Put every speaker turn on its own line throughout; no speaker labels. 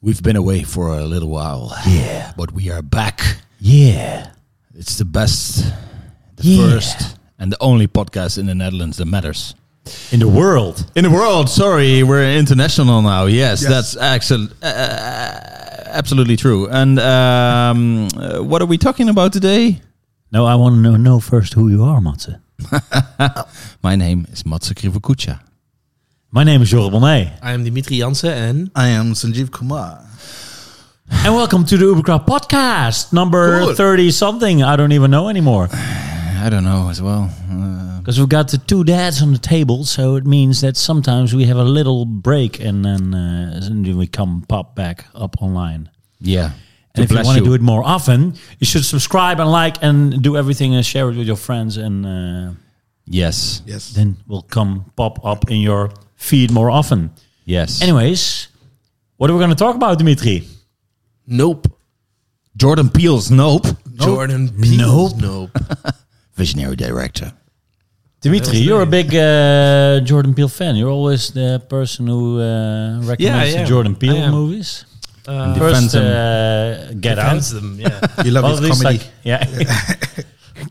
We've been away for a little while,
Yeah.
but we are back.
Yeah.
It's the best, the
Yeah.
first, and the only podcast in the Netherlands that matters.
In the world.
In the world, sorry, we're international now. Yes,
Yes.
that's excellent. Uh, absolutely true. And um, uh, what are we talking about today?
No, I want to know, know first who you are, Matze.
My name is Matze Krivokucha.
My name is Jorrit Bonnet.
I am Dimitri Jansen and
I am Sanjeev Kumar.
and welcome to the Ubercraft podcast, number
Good.
30 something. I don't even know anymore.
I don't know as well. Uh,
Because we've got the two dads on the table, so it means that sometimes we have a little break and then, uh, and then we come pop back up online.
yeah.
And if you
bless
want to do it more often, you should subscribe and like and do everything and share it with your friends, and uh,
Yes.
Yes.
then we'll come pop up in your feed more often.
Yes.
Anyways, what are we going to talk about, Dimitri?
Nope.
Jordan Peele's Nope.
Jordan Peele. Nope.
Visionary director.
Dimitri,
was
you're a
nice.
big uh, Jordan Peele fan. You're always the person who uh, recommends
yeah,
the Jordan
I
Peele
am.
movies.
Uh,
First,
defends him.
uh, Get Out.
Defends them, yeah.
You love
Well,
his
at least
comedy.
like, yeah.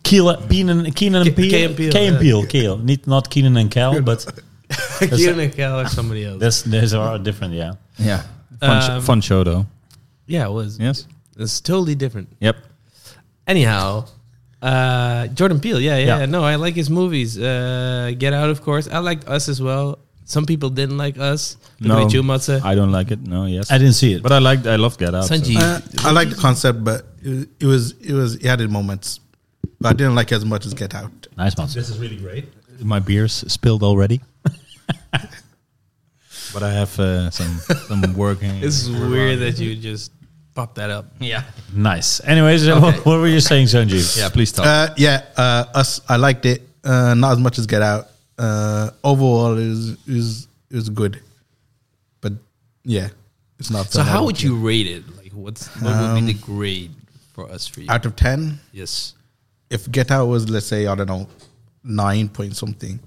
Keelan, Keenan, Keenan and
Ke- Key
Peele.
and Peele,
Key and
yeah.
Peele, Keel. Niet, not Keenan and Kel, but
Kieran and Kel are somebody else.
that's, those are different, yeah.
Yeah. Fun, sh-
Um,
fun show though.
Yeah, it was.
Yes.
It's totally different.
Yep.
Anyhow, uh, Jordan Peele, yeah, yeah,
Yeah.
No, I like his movies. Uh, Get Out, of course. I liked Us as well. Some people didn't like Us. Look
No.
at you, Matze.
I don't like it. No. Yes.
I didn't see it.
but I liked. I loved Get Out. so-
Sanjeev.
Uh, I like the concept, but it, it was it was it had its moments, but I didn't like it as much as Get Out.
nice one.
This is really great.
my beer's spilled already. but I have uh, some some working.
It's weird that you just pop that up.
yeah.
Nice. Anyways, uh, what, what were you saying, Sanjeev?
Yeah. Please
Oh.
talk.
Uh, yeah, uh, us. I liked it, uh, not as much as Get Out. Uh, overall, is is is good, but yeah, it's not.
So,
the
how
whole
would
thing.
you rate it? Like, what's what would be the grade for Us for you?
out of ten?
yes.
If Get Out was let's say I don't know nine point something,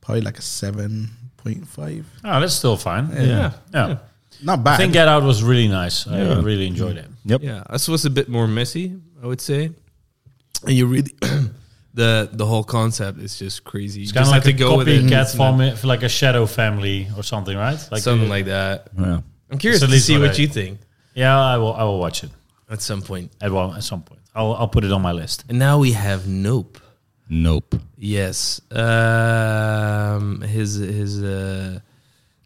probably like a seven point five.
Oh, that's still fine. Yeah.
Yeah.
Yeah.
Not
I
bad.
think Get Out was really nice. I really enjoyed it.
yep.
Yeah, us was a bit more messy, I would say. And uh, you really the the whole concept is just crazy.
It's kind of
just
like a copycat
It's not-
family, like a shadow family or something, right? Like
something
uh,
like that.
Yeah.
I'm curious
So at
to
least
see
what
what
I-
you think
Yeah, I will. I will watch it
at some point.
at one at some point. I'll I'll put it on my list.
And now we have Nope.
Nope.
Yes, um, his his uh,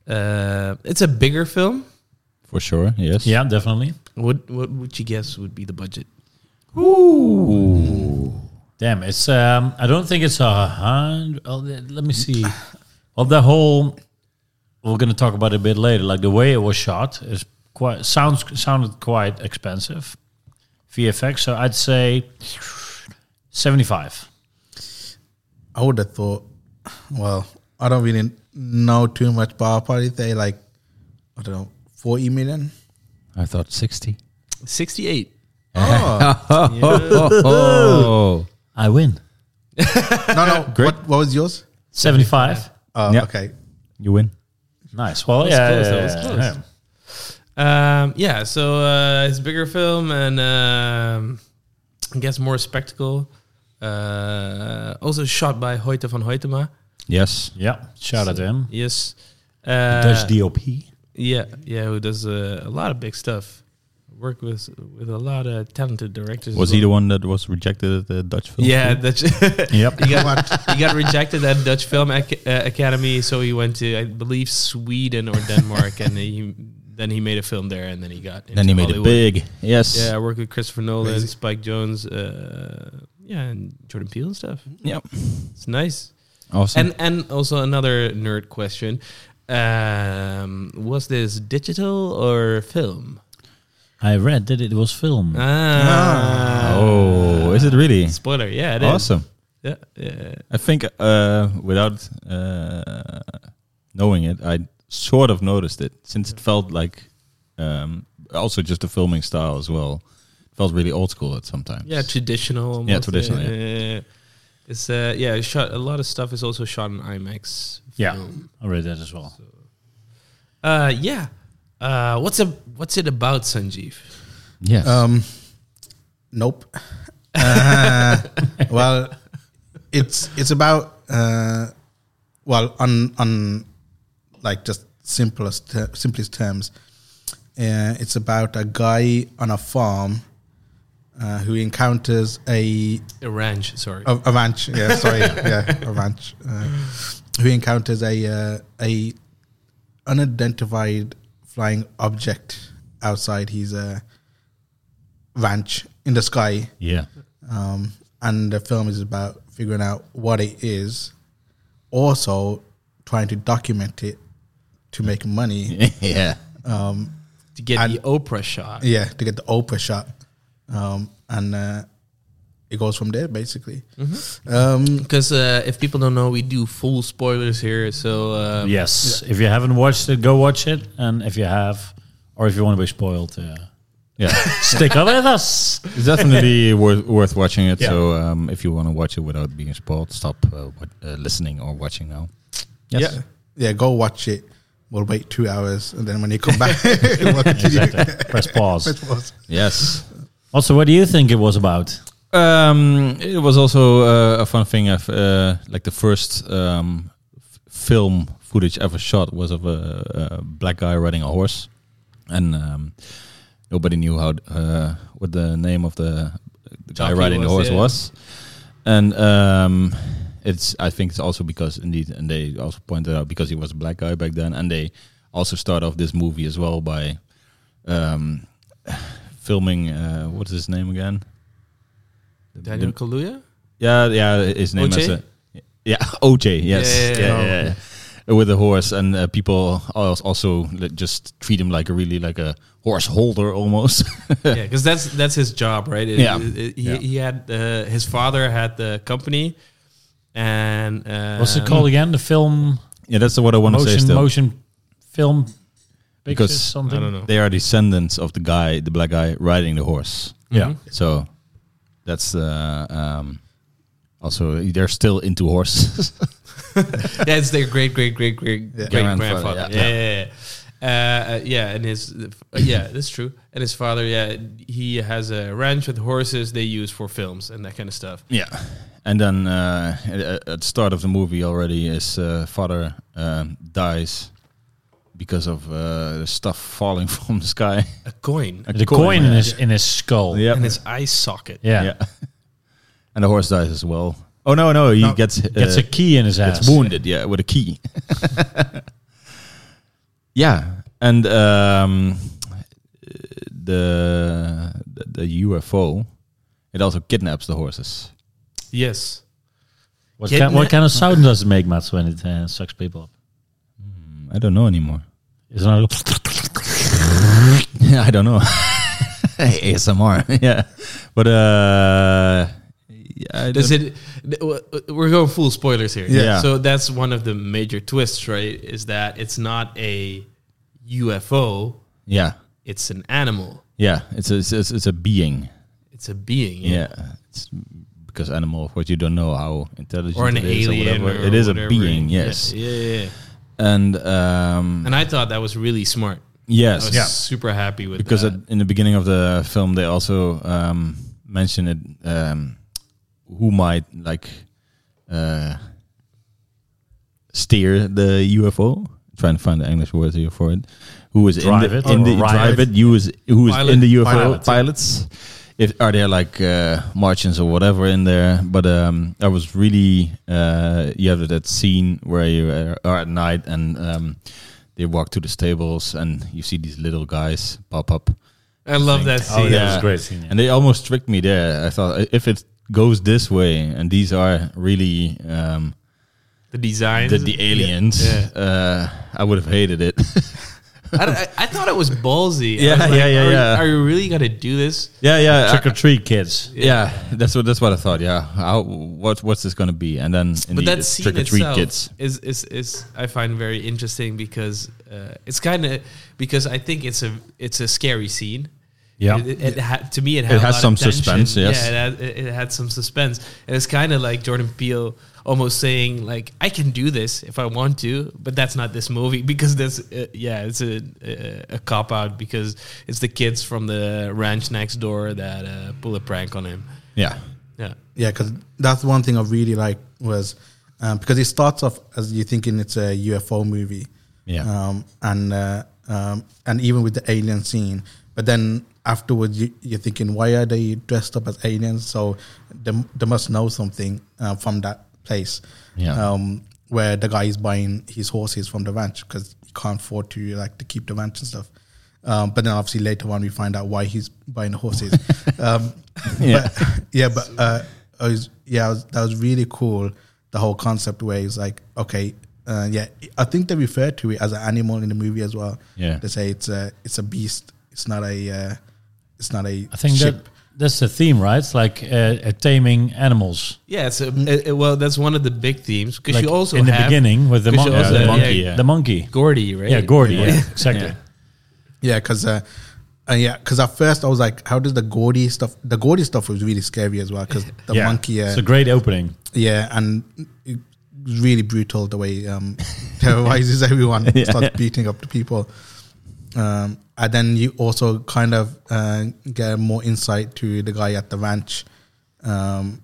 uh, it's a bigger film.
For sure. Yes.
Yeah, definitely.
What what would you guess would be the budget?
Damn, it's. Um, I don't think it's a hundred. Oh, th- let me see. Well, the whole. We're gonna talk about it a bit later. Like the way it was shot is quite sounds sounded quite expensive, VFX. So I'd say seventy five.
I would have thought, well, I don't really know too much, but I'll probably say like, I don't know, 40 million.
I thought sixty.
Sixty eight.
Oh.
I win
No, no, what, what was yours?
seventy five.
Oh,
Yeah.
okay.
You win.
Nice. Well,
was
yeah,
close,
yeah,
that was
yeah,
close.
yeah.
Um, yeah, so uh, it's a bigger film and um, I guess more spectacle. Uh, also shot by Hoyte van Hoytema.
Yes.
Yeah, shout out to him.
Yes.
Dutch
Uh,
DOP.
yeah, yeah, who does uh, a lot of big stuff. Work with with a lot of talented directors.
Was he the one that was rejected at the Dutch film?
Yeah,
school?
Dutch.
Yep.
he got he got rejected at Dutch Film Ac- uh, Academy, so he went to I believe Sweden or Denmark, and he then he made a film there, and then he got
Then he
into
made
Hollywood.
it big. Yes.
Yeah, I work with Christopher Nolan,
Amazing.
Spike Jones, uh, yeah, and Jordan Peele and stuff.
Yep.
It's nice.
Awesome.
And and also another nerd question: um, Was this digital or film?
I read that it was film.
Uh, Ah,
oh, is it really?
spoiler! Yeah, it is.
Awesome.
Yeah, yeah.
I think uh, without uh, knowing it, I sort of noticed it since it felt like um, also just the filming style as well. It felt really old school at sometimes.
Yeah, traditional. Almost.
Yeah, traditional,
Yeah. It's uh, yeah, shot. A lot of stuff is also shot in IMAX.
yeah,
film.
I read that as well.
Uh, yeah. Uh, what's a, what's it about, Sanjeev?
Yes.
Um, nope. Uh, well, it's it's about uh, well on on like just simplest ter- simplest terms. Uh, it's about a guy on a farm uh, who encounters a
A ranch, sorry.
Oh,
a, a ranch. Yeah, sorry. yeah, a ranch. Uh, who encounters a uh, a unidentified flying object outside his uh, ranch in the sky,
yeah.
um, and the film is about figuring out what it is, also trying to document it to make money.
yeah.
Um,
to get
and-
the Oprah shot.
yeah, to get the Oprah shot, um, and uh, it goes from there basically. Um,
Because uh, if people don't know, we do full spoilers here. So um,
yes. If you haven't watched it, go watch it. And if you have, or if you want to be spoiled, uh,
Yeah.
stick up with us.
It's definitely worth worth watching it.
Yeah.
So um, if you want to watch it without being spoiled, stop uh, what, uh, listening or watching now. Yes.
Yeah, yeah. Go watch it. We'll wait two hours, and then when you come back, we'll continue.
Exactly. Press pause.
Yes.
Also, what do you think it was about?
Um, it was also uh, a fun thing. I've, uh, like the first um, f- film footage ever shot was of a, a black guy riding a horse, and um, nobody knew how uh, what the name of the, the guy
Jockey
riding the
was,
horse
yeah.
was. And um, it's I think it's also because indeed, and they also pointed out because he was a black guy back then, and they also start off this movie as well by um, filming uh, what's his name again. The-
Daniel
the-
Kaluuya.
yeah, yeah. His name
OJ?
is uh, yeah, OJ. Yes,
Yeah,
yeah,
yeah,
yeah,
yeah.
yeah, yeah. with a horse, and uh, people als- also li- just treat him like a really like a horse holder almost.
yeah, because that's that's his job, right? It-
Yeah.
it- it- he,
Yeah.
he had uh, his father had the company, and uh,
What's it called again? The film
yeah, that's what I want to say.
motion
Still,
motion film
Because-
pictures
I
something.
don't know.
they are descendants of the guy, the black guy riding the horse.
Yeah.
So that's uh, um, also they're still into horses.
yeah, it's their great great great great great grandfather.
Grandfather,
Yeah, yeah, yeah. Uh, uh, yeah, and his uh, yeah, that's true. And his father, yeah, he has a ranch with horses they use for films and that kind of stuff.
Yeah, and then uh, at, at the start of the movie already, his uh, father um, dies because of uh, the stuff falling from the sky.
A coin
A
The coin in
yeah.
his in his skull.
Yeah.
and his eye socket.
Yeah.
yeah, and the horse dies as well. Oh no, no, he
No.
gets uh,
Gets a key in his ass.
gets wounded. Yeah, with a key. yeah, and um, the, the the UFO it also kidnaps the horses.
Yes.
What,
Kidnap-
kind, what kind of sound does it make, Mats, when it uh, sucks people up?
I don't know anymore.
Is it not
Yeah, I don't know. ASMR, yeah. But uh, yeah, I
Does
don't-
it? th- w- w- We're going full spoilers here.
Yeah. Yeah.
So that's one of the major twists, right? Is that it's not a UFO;
Yeah,
it's an animal.
yeah. It's a, it's a, it's a being.
It's a being.
Yeah. It's because animal, of course, you don't know how intelligent
Or an
it is
alien.
or whatever.
or
it is
whatever.
a being,
Yeah,
yes.
Yeah, yeah, yeah.
And um,
And I thought that was really smart. I
yes,
was super happy with
because
that.
at, in the beginning of the film they also um, mention it um, who might like uh, steer the UFO. Trying to find the English word here for it. Who is
Drive
in the,
it
in
or
the
ride
drive it? Who is who is
Pilot-
in the UFO?
pilot.
Pilots. If are there like uh, Martians or whatever in there? But um, I was really uh, you have that scene where you are- are at night and um, they walk to the stables and you see these little guys pop up.
I love that
Oh,
scene.
that was
Yeah.
a great scene. yeah.
And they almost tricked me there. I thought if it goes this way, and these are really um,
The design.
the, the aliens,
Yeah.
Uh, I would have hated it.
I, don't- I, I thought it was ballsy. I
Yeah,
was like,
yeah, yeah,
Are,
yeah.
are you really gonna do this?
yeah, yeah, I-
Trick or treat, kids.
yeah. That's what that's what I thought. Yeah, How, what what's this going to be? And then
but
indeed,
that
it's
scene
trick or treat
itself
kids.
is is is I find very interesting because uh, it's kind of because I think it's a it's a scary scene
Yeah.
It, it, it had to me it had
It
a
has
lot
some
of tension.
suspense, yes.
Yeah, it had, it, it had some suspense, and it's kind of like Jordan Peele almost saying like I can do this if I want to, but that's not this movie because this uh, yeah it's a a, a cop out because it's the kids from the ranch next door that uh, pull a prank on him.
Yeah.
Yeah.
Yeah, because that's one thing I really like was um, because it starts off as you thinking it's a UFO movie,
Yeah.
um, and uh, um, and even with the alien scene, but then afterwards you, you're thinking why are they dressed up as aliens? So they, they must know something uh, from that place,
Yeah.
um, where the guy is buying his horses from the ranch because he can't afford to like to keep the ranch and stuff. Um, but then obviously later on we find out why he's buying the horses. um,
Yeah.
but, yeah, but uh, I was, yeah, I was, that was really cool. The whole concept where it's like, okay, uh, yeah, I think they refer to it as an animal in the movie as well.
Yeah.
they say it's a it's a beast. It's not a uh, it's not a
I think
ship.
that that's the theme, right? It's like uh, uh, taming animals.
Yeah, it's a, uh, uh, well, that's one of the big themes because
Like
you also
in the
have
beginning with the,
because
mon-
you also
the
have-
monkey,
yeah.
the monkey.
Gordy, right?
Yeah, Gordy. Yeah, exactly.
Yeah.
Yeah, because uh, uh, yeah, 'cause at first I was like, how does the Gordy stuff? The Gordy stuff was really scary as well because the
Yeah.
monkey, uh,
It's a great opening.
yeah, and it was really brutal the way um, terrorizes everyone, starts beating up the people. Um, and then you also kind of uh, get more insight to the guy at the ranch, um,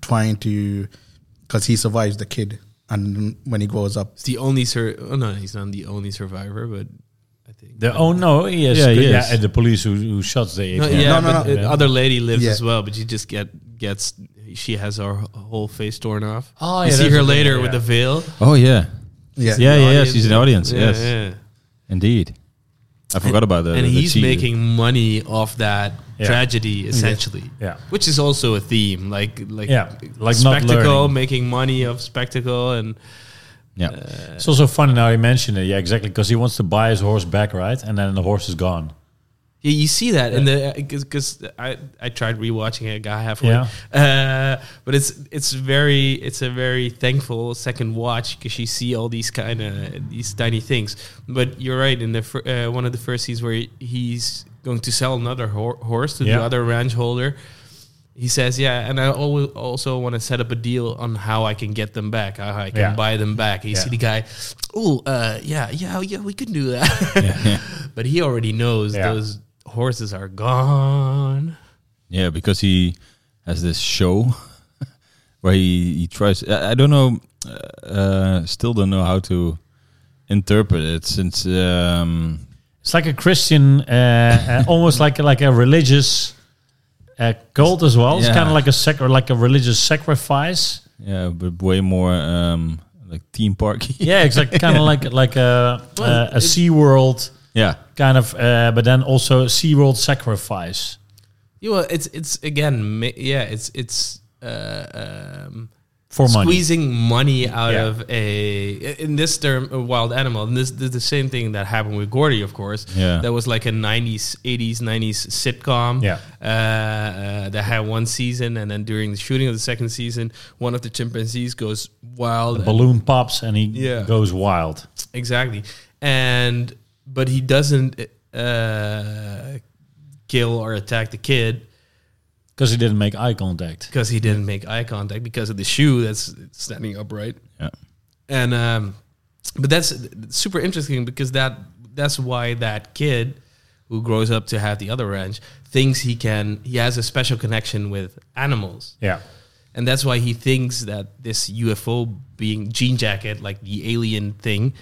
trying to, because he survives the kid, and when he grows up,
It's the only sur. Oh, no, he's not the only survivor, but I think.
The oh no, yes,
Yeah,
yeah,
he
yeah,
is.
and the police who, who shots the
No,
agent.
yeah,
No, no,
but
no.
the other lady lives
Yeah.
as well, but she just get gets. She has her whole face torn off.
Oh,
you
yeah,
see
that's
her
a bit-
later
yeah.
with the veil.
Oh yeah.
yeah,
Yeah,
The
yeah, she's in the audience,
Yeah,
yes.
yeah.
Uh,
Indeed. I forgot about that.
and he's making money off that
Yeah. Mm-hmm.
tragedy essentially.
Yeah.
which is also a theme, like like
Yeah, like not
spectacle,
learning.
making money of spectacle, and
Yeah.
uh,
It's also funny now you mention it. Yeah, exactly, because he wants to buy his horse back, right? And then the horse is gone.
Yeah, you see that in the because I I tried rewatching it, got halfway.
Yeah.
Uh, but it's it's very it's a very thankful second watch because you see all these kind of these tiny things. But you're right in the fir- uh, one of the first scenes where he's going to sell another hor- horse to the
Yeah.
other ranch holder. He says, "Yeah, and I always also want to set up a deal on how I can get them back, how I can
Yeah.
buy them back." You
Yeah.
see the guy, oh, uh, yeah, yeah, yeah, we can do that. But he already knows
Yeah.
those horses are gone.
Yeah, because he has this show where he, he tries. I, I don't know. uh, Uh, still don't know how to interpret it since. Um,
It's like a Christian, uh, uh, almost like like a religious uh, cult as well. It's
Yeah.
kind of like a sac- or like a religious sacrifice.
yeah, but way more um, like theme parky.
Yeah, exactly. Kind of like like a uh, a Sea World
yeah,
kind of, uh, but then also Sea World sacrifice.
You know, it's it's again, ma- yeah, it's it's uh, um,
For money.
squeezing money out
Yeah.
of a in this term a wild animal. And this, this is the same thing that happened with Gordy, of course.
Yeah.
that was like a '90s, '80s, '90s sitcom.
Yeah.
uh, uh, that had one season, and then during the shooting of the second season, one of the chimpanzees goes wild. and-
balloon pops and he
Yeah.
goes wild.
Exactly. And but he doesn't uh, kill or attack the kid
Because he didn't make eye contact.
because he didn't make eye contact because of the shoe that's standing upright.
yeah,
And um, but that's super interesting because that that's why that kid who grows up to have the other ranch thinks he can he has a special connection with animals.
Yeah.
And that's why he thinks that this UFO being jean jacket, like the alien thing,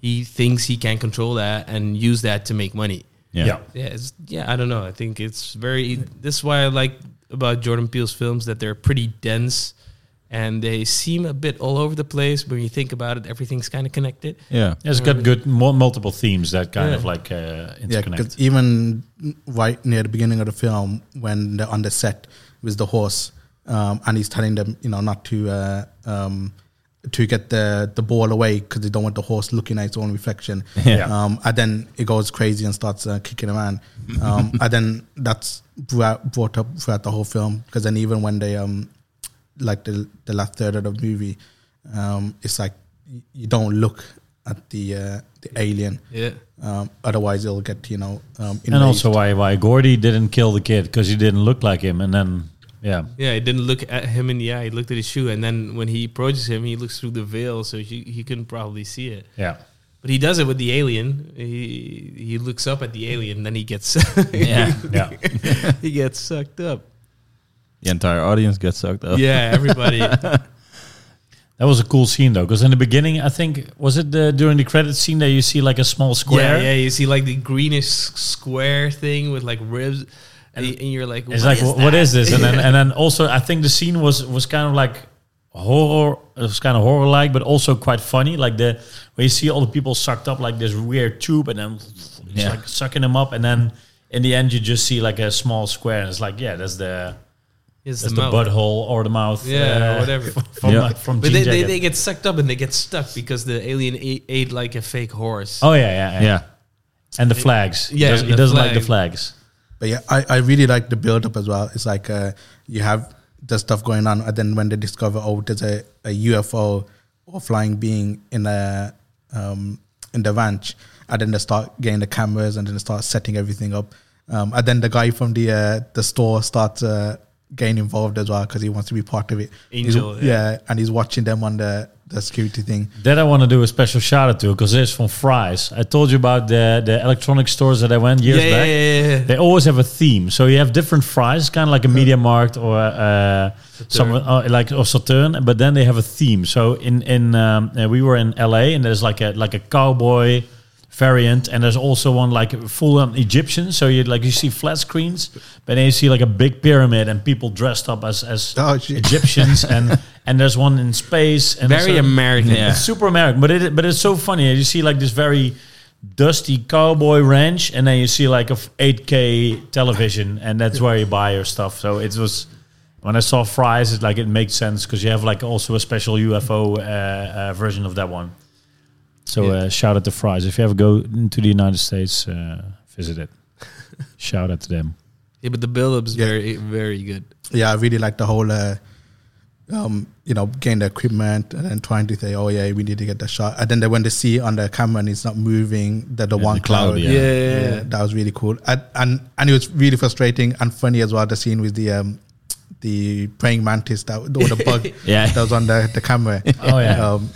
he thinks he can control that and use that to make money.
yeah,
Yeah.
Yeah, it's, yeah, I don't know. I think it's very. This is why I like about Jordan Peele's films that they're pretty dense, and they seem a bit all over the place. But when you think about it, everything's kind of connected.
yeah.
It's got good mul- multiple themes that kind
Yeah.
of like uh,
Yeah,
interconnect.
because even right near the beginning of the film, when they're on the set with the horse, um, and he's telling them, you know, not to uh, um, to get the the ball away because they don't want the horse looking at its own reflection.
Yeah.
Um, and then it goes crazy and starts uh, kicking around. Um, and then that's brought, brought up throughout the whole film because then even when they um, like the the last third of the movie, um, it's like y- you don't look at the uh, the alien.
Yeah.
Um, otherwise, it'll get you know. Um,
And also why why Gordy didn't kill the kid because he didn't look like him. And then yeah,
Yeah, he didn't look at him in the eye. He looked at his shoe, and then when he approaches him, he looks through the veil, so he, he couldn't probably see it.
yeah.
But he does it with the alien. He he looks up at the alien, then he gets
Yeah.
Yeah,
he gets sucked up.
The entire audience gets sucked
Oh.
up.
Yeah, everybody.
that was a cool scene though, because in the beginning, I think was it the, during the credit scene that you see like a small square.
Yeah, yeah. You see like the greenish s- square thing with like ribs, and, and you're like,
It's like "Wh- what
that?"
is this? And then and then also, I think the scene was was kind of like horror. It was kind of horror like, but also quite funny. Like the where you see all the people sucked up like this weird tube, and then it's
Yeah.
like sucking them up, and then in the end, you just see like a small square, and it's like yeah, that's the
It's
that's
the
the,
mouth.
butthole or the mouth,
Yeah,
uh,
whatever.
From
Yeah.
uh, from
But
Jean
they, they,
Jacket.
they get sucked up and they get stuck because the alien ate, ate like a fake horse.
oh yeah, yeah, yeah,
Yeah.
And the flags.
Yeah,
he doesn't, he
the
doesn't like the
flag.
flags.
But yeah, I, I really like the build up as well. It's like uh, you have the stuff going on, and then when they discover oh there's a, a UFO or flying being in a um, in the ranch, and then they start getting the cameras and then they start setting everything up, um, and then the guy from the uh, the store starts uh, getting involved as well because he wants to be part of it. He's-
Angel,
yeah. and he's watching them on the the security thing.
That I want to do a special shout out to because it's from Fry's. I told you about the the electronic stores that I went years
yeah,
back.
yeah, yeah, yeah.
They always have a theme, so you have different fries, kind of like a Media Markt or uh, some uh, like or Saturn. But then they have a theme. So in in um, uh, we were in LA, and there's like a like a cowboy variant, and there's also one like full on Egyptian. So you like you see flat screens, but then you see like a big pyramid and people dressed up as as
Oh, shit.
Egyptians, and and there's one in space. And
Very
there's a-
American.
Yeah.
it's super American, but it but it's so funny. You see like this very dusty cowboy ranch, and then you see like a 8K television, and that's where you buy your stuff. So it was when I saw fries, it like it makes sense because you have like also a special UFO uh, uh, version of that one. So uh, shout out to fries if you ever go into the United States, uh, visit it. shout out to them.
Yeah, but the build up's
Yeah.
very, very good.
yeah, I really like the whole, uh, um, you know, getting the equipment and then trying to say, oh yeah, we need to get the shot. And then they, when they see on the camera and it's not moving, the the
Yeah,
one
the cloud,
cloud.
yeah.
Yeah, yeah, yeah.
that was really cool. And, and and it was really frustrating and funny as well. The scene with the um, the praying mantis that or the bug
Yeah.
that was on the the camera.
Oh, yeah.
Um,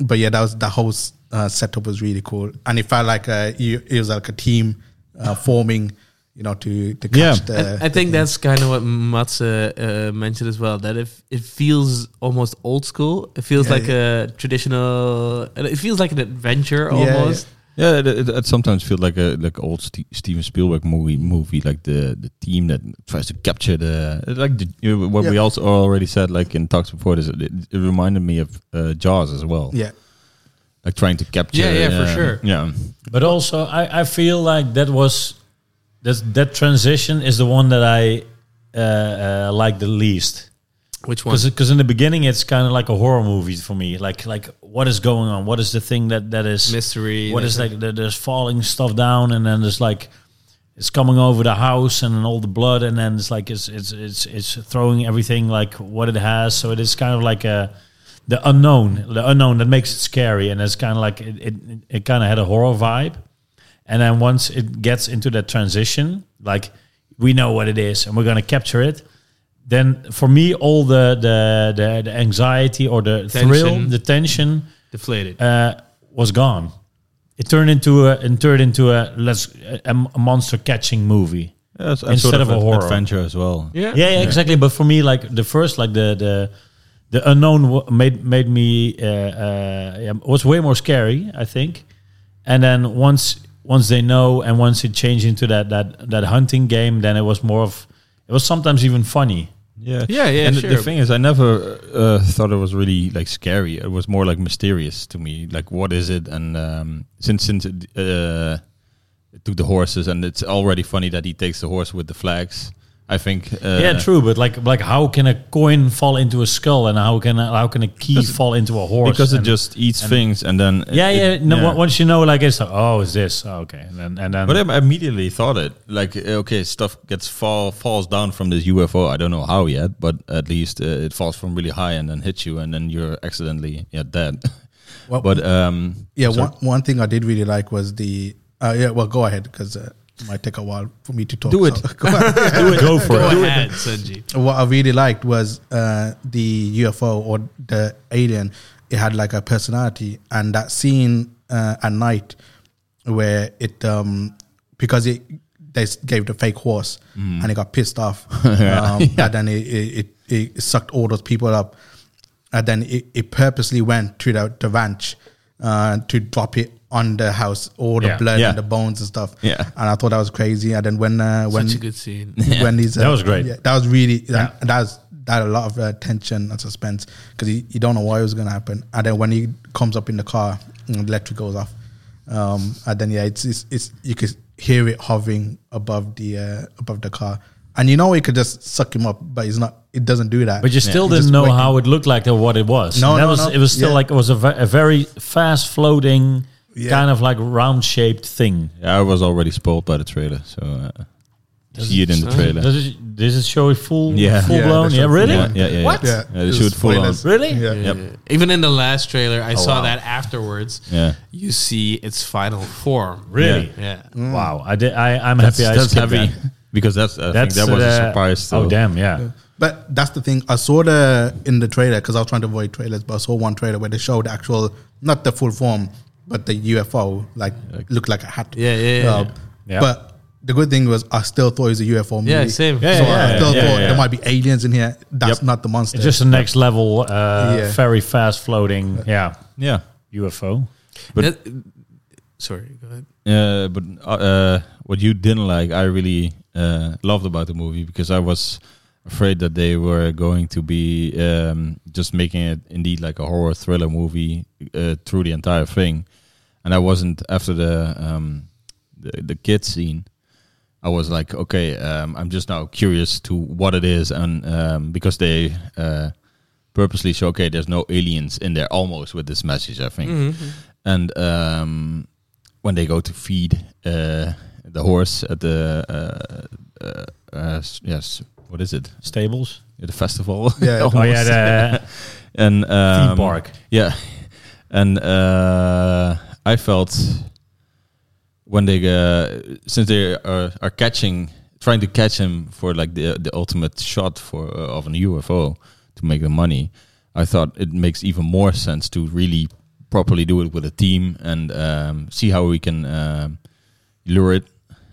but yeah, that was the whole s- uh, setup was really cool, and it felt like uh you- it was like a team uh, forming, you know, to to catch
Yeah.
the.
I- I
the
think
thing.
that's kind of what Mats uh, uh, mentioned as well. That if it feels almost old school, it feels
Yeah,
like a traditional. It feels like an adventure
Yeah, yeah.
almost.
Yeah, it, it, it sometimes feels like a like old Ste Steven Spielberg movie movie, like the the team that tries to capture the like the, you know, what we
Yeah.
also already said like in talks before. This it, it reminded me of uh, Jaws as well,
yeah.
like trying to capture.
Yeah, yeah, for
uh,
sure.
Yeah,
But also, I, I feel like that was that that transition is the one that I uh, uh, like the least.
Which one?
Because in the beginning it's kind of like a horror movie for me. Like like what is going on? What is the thing that that is
Mystery.
What is like the, there's falling stuff down and then there's like it's coming over the house and then all the blood and then it's like it's it's it's it's throwing everything like what it has. So it is kind of like a the unknown, the unknown that makes it scary and it's kind of like it it, it kind of had a horror vibe. And then once it gets into that transition, like we know what it is and we're gonna capture it, then for me all the the the, the anxiety or the thrill,
Tension.
the tension
deflated?
uh, was gone. It turned into a and turned into a let's a, a monster catching movie.
yeah it's- it's
Instead
sort
of a
ad-
horror.
adventure as well.
yeah.
Yeah, yeah, exactly. But for me, like the first, like the the the unknown w- made made me uh, uh, yeah, was way more scary, I think. And then once once they know, and once it changed into that that that hunting game, then it was more of it was sometimes even funny.
Yeah,
Yeah, yeah,
And the- the
sure.
thing is, I never uh, thought it was really like scary. It was more like mysterious to me. Like, what is it? And um, since since it, uh, it took the horses, and it's already funny that he takes the horse with the flags. I think. Uh,
yeah, true. But like like how can a coin fall into a skull, and how can a, how can a key fall into a horse?
Because it
And-
just eats things, and then it-
yeah, yeah.
it-
no, on- Once you know, like it's like, oh, is this Oh, okay? And then, and then
But I immediately thought it like uh, okay, stuff gets fall falls down from this UFO. I don't know how yet, but at least uh, it falls from really high and then hits you, and then you're accidentally yeah dead.
Well,
but um,
Yeah,
sorry.
one, one thing I did really like was the. Uh, yeah, well, go ahead because uh, it might take a while for me to talk.
Do it.
so go ahead.
Do it. Go for
Go
it.
ahead, Sanjeev.
what I really liked was uh, the UFO or the alien. It had like a personality, and that scene uh, at night where it um because it they s- gave the fake horse
Mm.
and it got pissed off, um, and then it, it it it sucked all those people up, and then it, it purposely went to the, the ranch uh, to drop it on the house, all the
Yeah.
blood
Yeah.
and the bones and stuff.
Yeah.
and I thought that was crazy. And then when uh, when
Such a good scene.
when he's uh,
That was great.
Yeah, that was really that, that was that had a lot of uh, tension and suspense because you, you don't know what was going to happen. And then when he comes up in the car, and the electric goes off. Um, and then yeah, it's, it's it's you could hear it hovering above the uh, above the car, and you know it could just suck him up, but it's not. It doesn't do that.
But you still
It just
didn't know
wake him-
how it looked like or what it was.
No,
And that
no,
was,
no.
It was still
Yeah.
like it was a, ve- a very fast floating
Yeah.
kind of like round shaped thing.
yeah, I was already spoiled by the trailer, so uh, see it in the trailer.
Does it, does it show it full?
Yeah.
full
Yeah, they
blown.
show
Yeah,
it full
really.
Yeah, yeah, yeah.
What?
Yeah,
Yeah,
yeah they
it
shoot
was
it full on.
spoilers.
Really?
Yeah.
Yep.
Even in the last trailer, I saw
wow.
that afterwards.
Yeah.
You see its final form.
Really?
Yeah.
Wow. I did. I, I'm
That's,
happy. I
that's
skipped
heavy
That.
because that's I
That's
think that was
uh,
a surprise.
Oh
though.
damn! Yeah.
But that's the thing. I saw the in the trailer because I was trying to avoid trailers, but I saw one trailer where they showed actual, not the full form, but the UFO like looked like a hat. Uh,
Yeah, yeah, yeah, yeah.
Yeah.
But the good thing was I still thought it was a UFO movie.
Yeah, same.
Yeah,
So
yeah,
I
yeah,
still thought
yeah, yeah.
there might be aliens in here. That's
Yep.
not the monster.
It's just the next level. Uh,
Yeah.
Very fast floating. Yeah.
Yeah.
UFO.
But-
That- sorry, go ahead.
Uh, but uh, uh, what you didn't like, I really uh, loved about the movie because I was afraid that they were going to be um, just making it indeed like a horror thriller movie uh, through the entire thing, and I wasn't after the um, the, the kid scene. I was like, okay, um, I'm just now curious to what it is, and um, because they uh, purposely show, okay, there's no aliens in there almost with this message, I think, and um, when they go to feed uh, the horse at the uh, uh, uh, s- yes, what is it?
Stables.
At the festival?
Yeah. Oh,
Oh
Almost.
yeah. The,
and um,
Theme park.
Yeah, and uh, I felt when they uh, since they are, are catching, trying to catch him for like the the ultimate shot for uh, of an UFO to make the money. I thought it makes even more sense to really properly do it with a team and um, see how we can um, lure it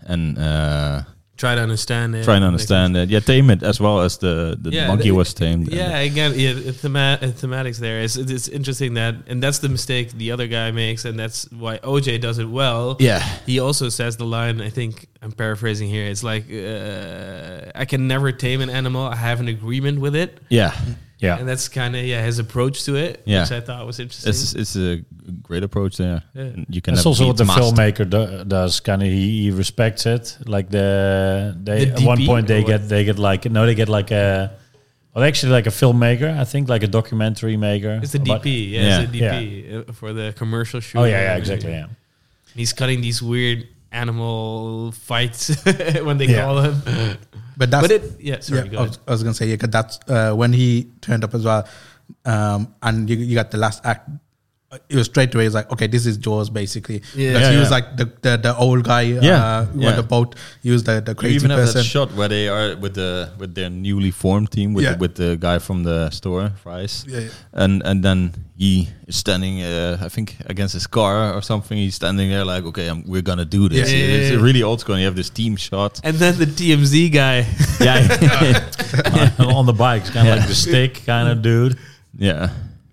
and uh,
Try to understand it.
try and understand it. Yeah, tame it as well as the, the
Yeah,
monkey
the-
was tamed. and-
Yeah, again, yeah, the thema- uh, thematics there. It's, it's interesting that, and that's the mistake the other guy makes, and that's why OJ does it well.
yeah.
He also says the line, I think I'm paraphrasing here. It's like, uh, I can never tame an animal. I have an agreement with it.
Yeah.
yeah.
And that's kind of, yeah, his approach to it,
Yeah.
which I thought was interesting.
It's it's a great approach there.
Yeah.
And You can
That's
never
also
be
what the
master.
filmmaker do, does. Kind of, he, he respects it. Like the they
The
at one
DP
point
or
they
what?
get they get like no they get like a well actually like a filmmaker I think like a documentary maker.
It's the
About-
DP, yeah,
Yeah.
it's the DP uh, for the commercial shoot.
Oh yeah, yeah, exactly. Yeah.
And he's cutting these weird animal fights when they
Yeah.
call him.
but that's
But it, yeah, sorry,
yeah,
go
I,
ahead.
was, I was gonna say yeah, 'cause that's uh, when he turned up as well, um, and you, you got the last act. uh, It was straight away. It's like okay, this is Jaws basically.
Yeah.
Because
Yeah,
he was
yeah.
like the, the the old guy.
Yeah,
uh, who had
yeah.
the boat. He was the the
You
crazy
even have
person.
that shot where they are with the with their newly formed team with
Yeah.
the, with the guy from the store, Fries,
Yeah, yeah.
and and then he is standing, uh, I think, against his car or something. He's standing there like, okay, I'm, we're gonna do this.
Yeah, yeah,
it's
yeah.
really old school. And you have this team shot.
And then the TMZ guy.
yeah,
on the bikes, kind of like the stick kind of dude.
yeah.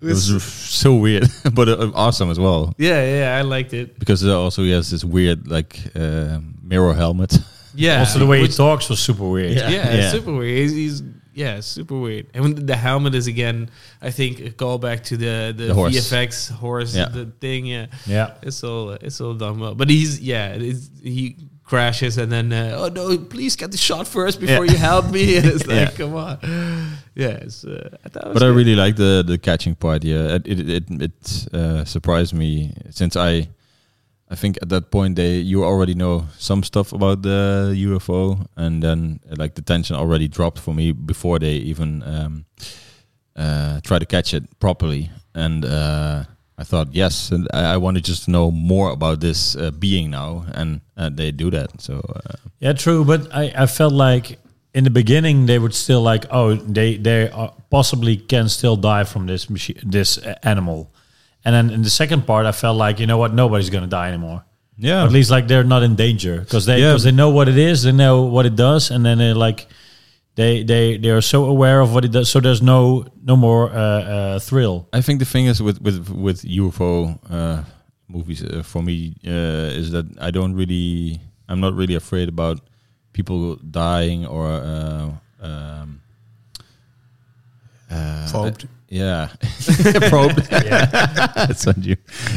It was so weird, but uh, awesome as well.
yeah, yeah, I liked it.
Because uh, also he has this weird like uh, mirror helmet.
Yeah.
Also, the way
Which-
he talks was super weird.
Yeah.
yeah,
Yeah.
super weird. He's, he's yeah, super weird. And when the helmet is again, I think a callback to the the,
The horse.
VFX horse
Yeah.
the thing. Yeah,
Yeah.
it's all it's all done well. But he's yeah, it's, he crashes and then uh, oh no, please get the shot first before you help me. And it's like
Yeah.
come on, yeah. It's, uh, I thought it was
but I
good.
really like the the catching part. Yeah, it it it, it uh, surprised me since I, I think at that point they you already know some stuff about the UFO, and then uh, like the tension already dropped for me before they even um, uh, try to catch it properly. And uh, I thought yes, and I, I wanted just to know more about this uh, being now, and uh, they do that. So uh,
Yeah, true. But I, I felt like in the beginning they would still like, oh, they they are possibly can still die from this machine, this uh, animal. And then in the second part, I felt like you know what, nobody's gonna die anymore.
yeah,
Or at least like they're not in danger because they
Yeah.
because they know what it is, they know what it does, and then they like they they they are so aware of what it does. So there's no no more uh, uh, thrill.
I think the thing is with with with UFO uh, movies uh, for me uh, is that I don't really I'm not really afraid about people dying or uh, um, uh,
Probed.
yeah, probed. That's on you.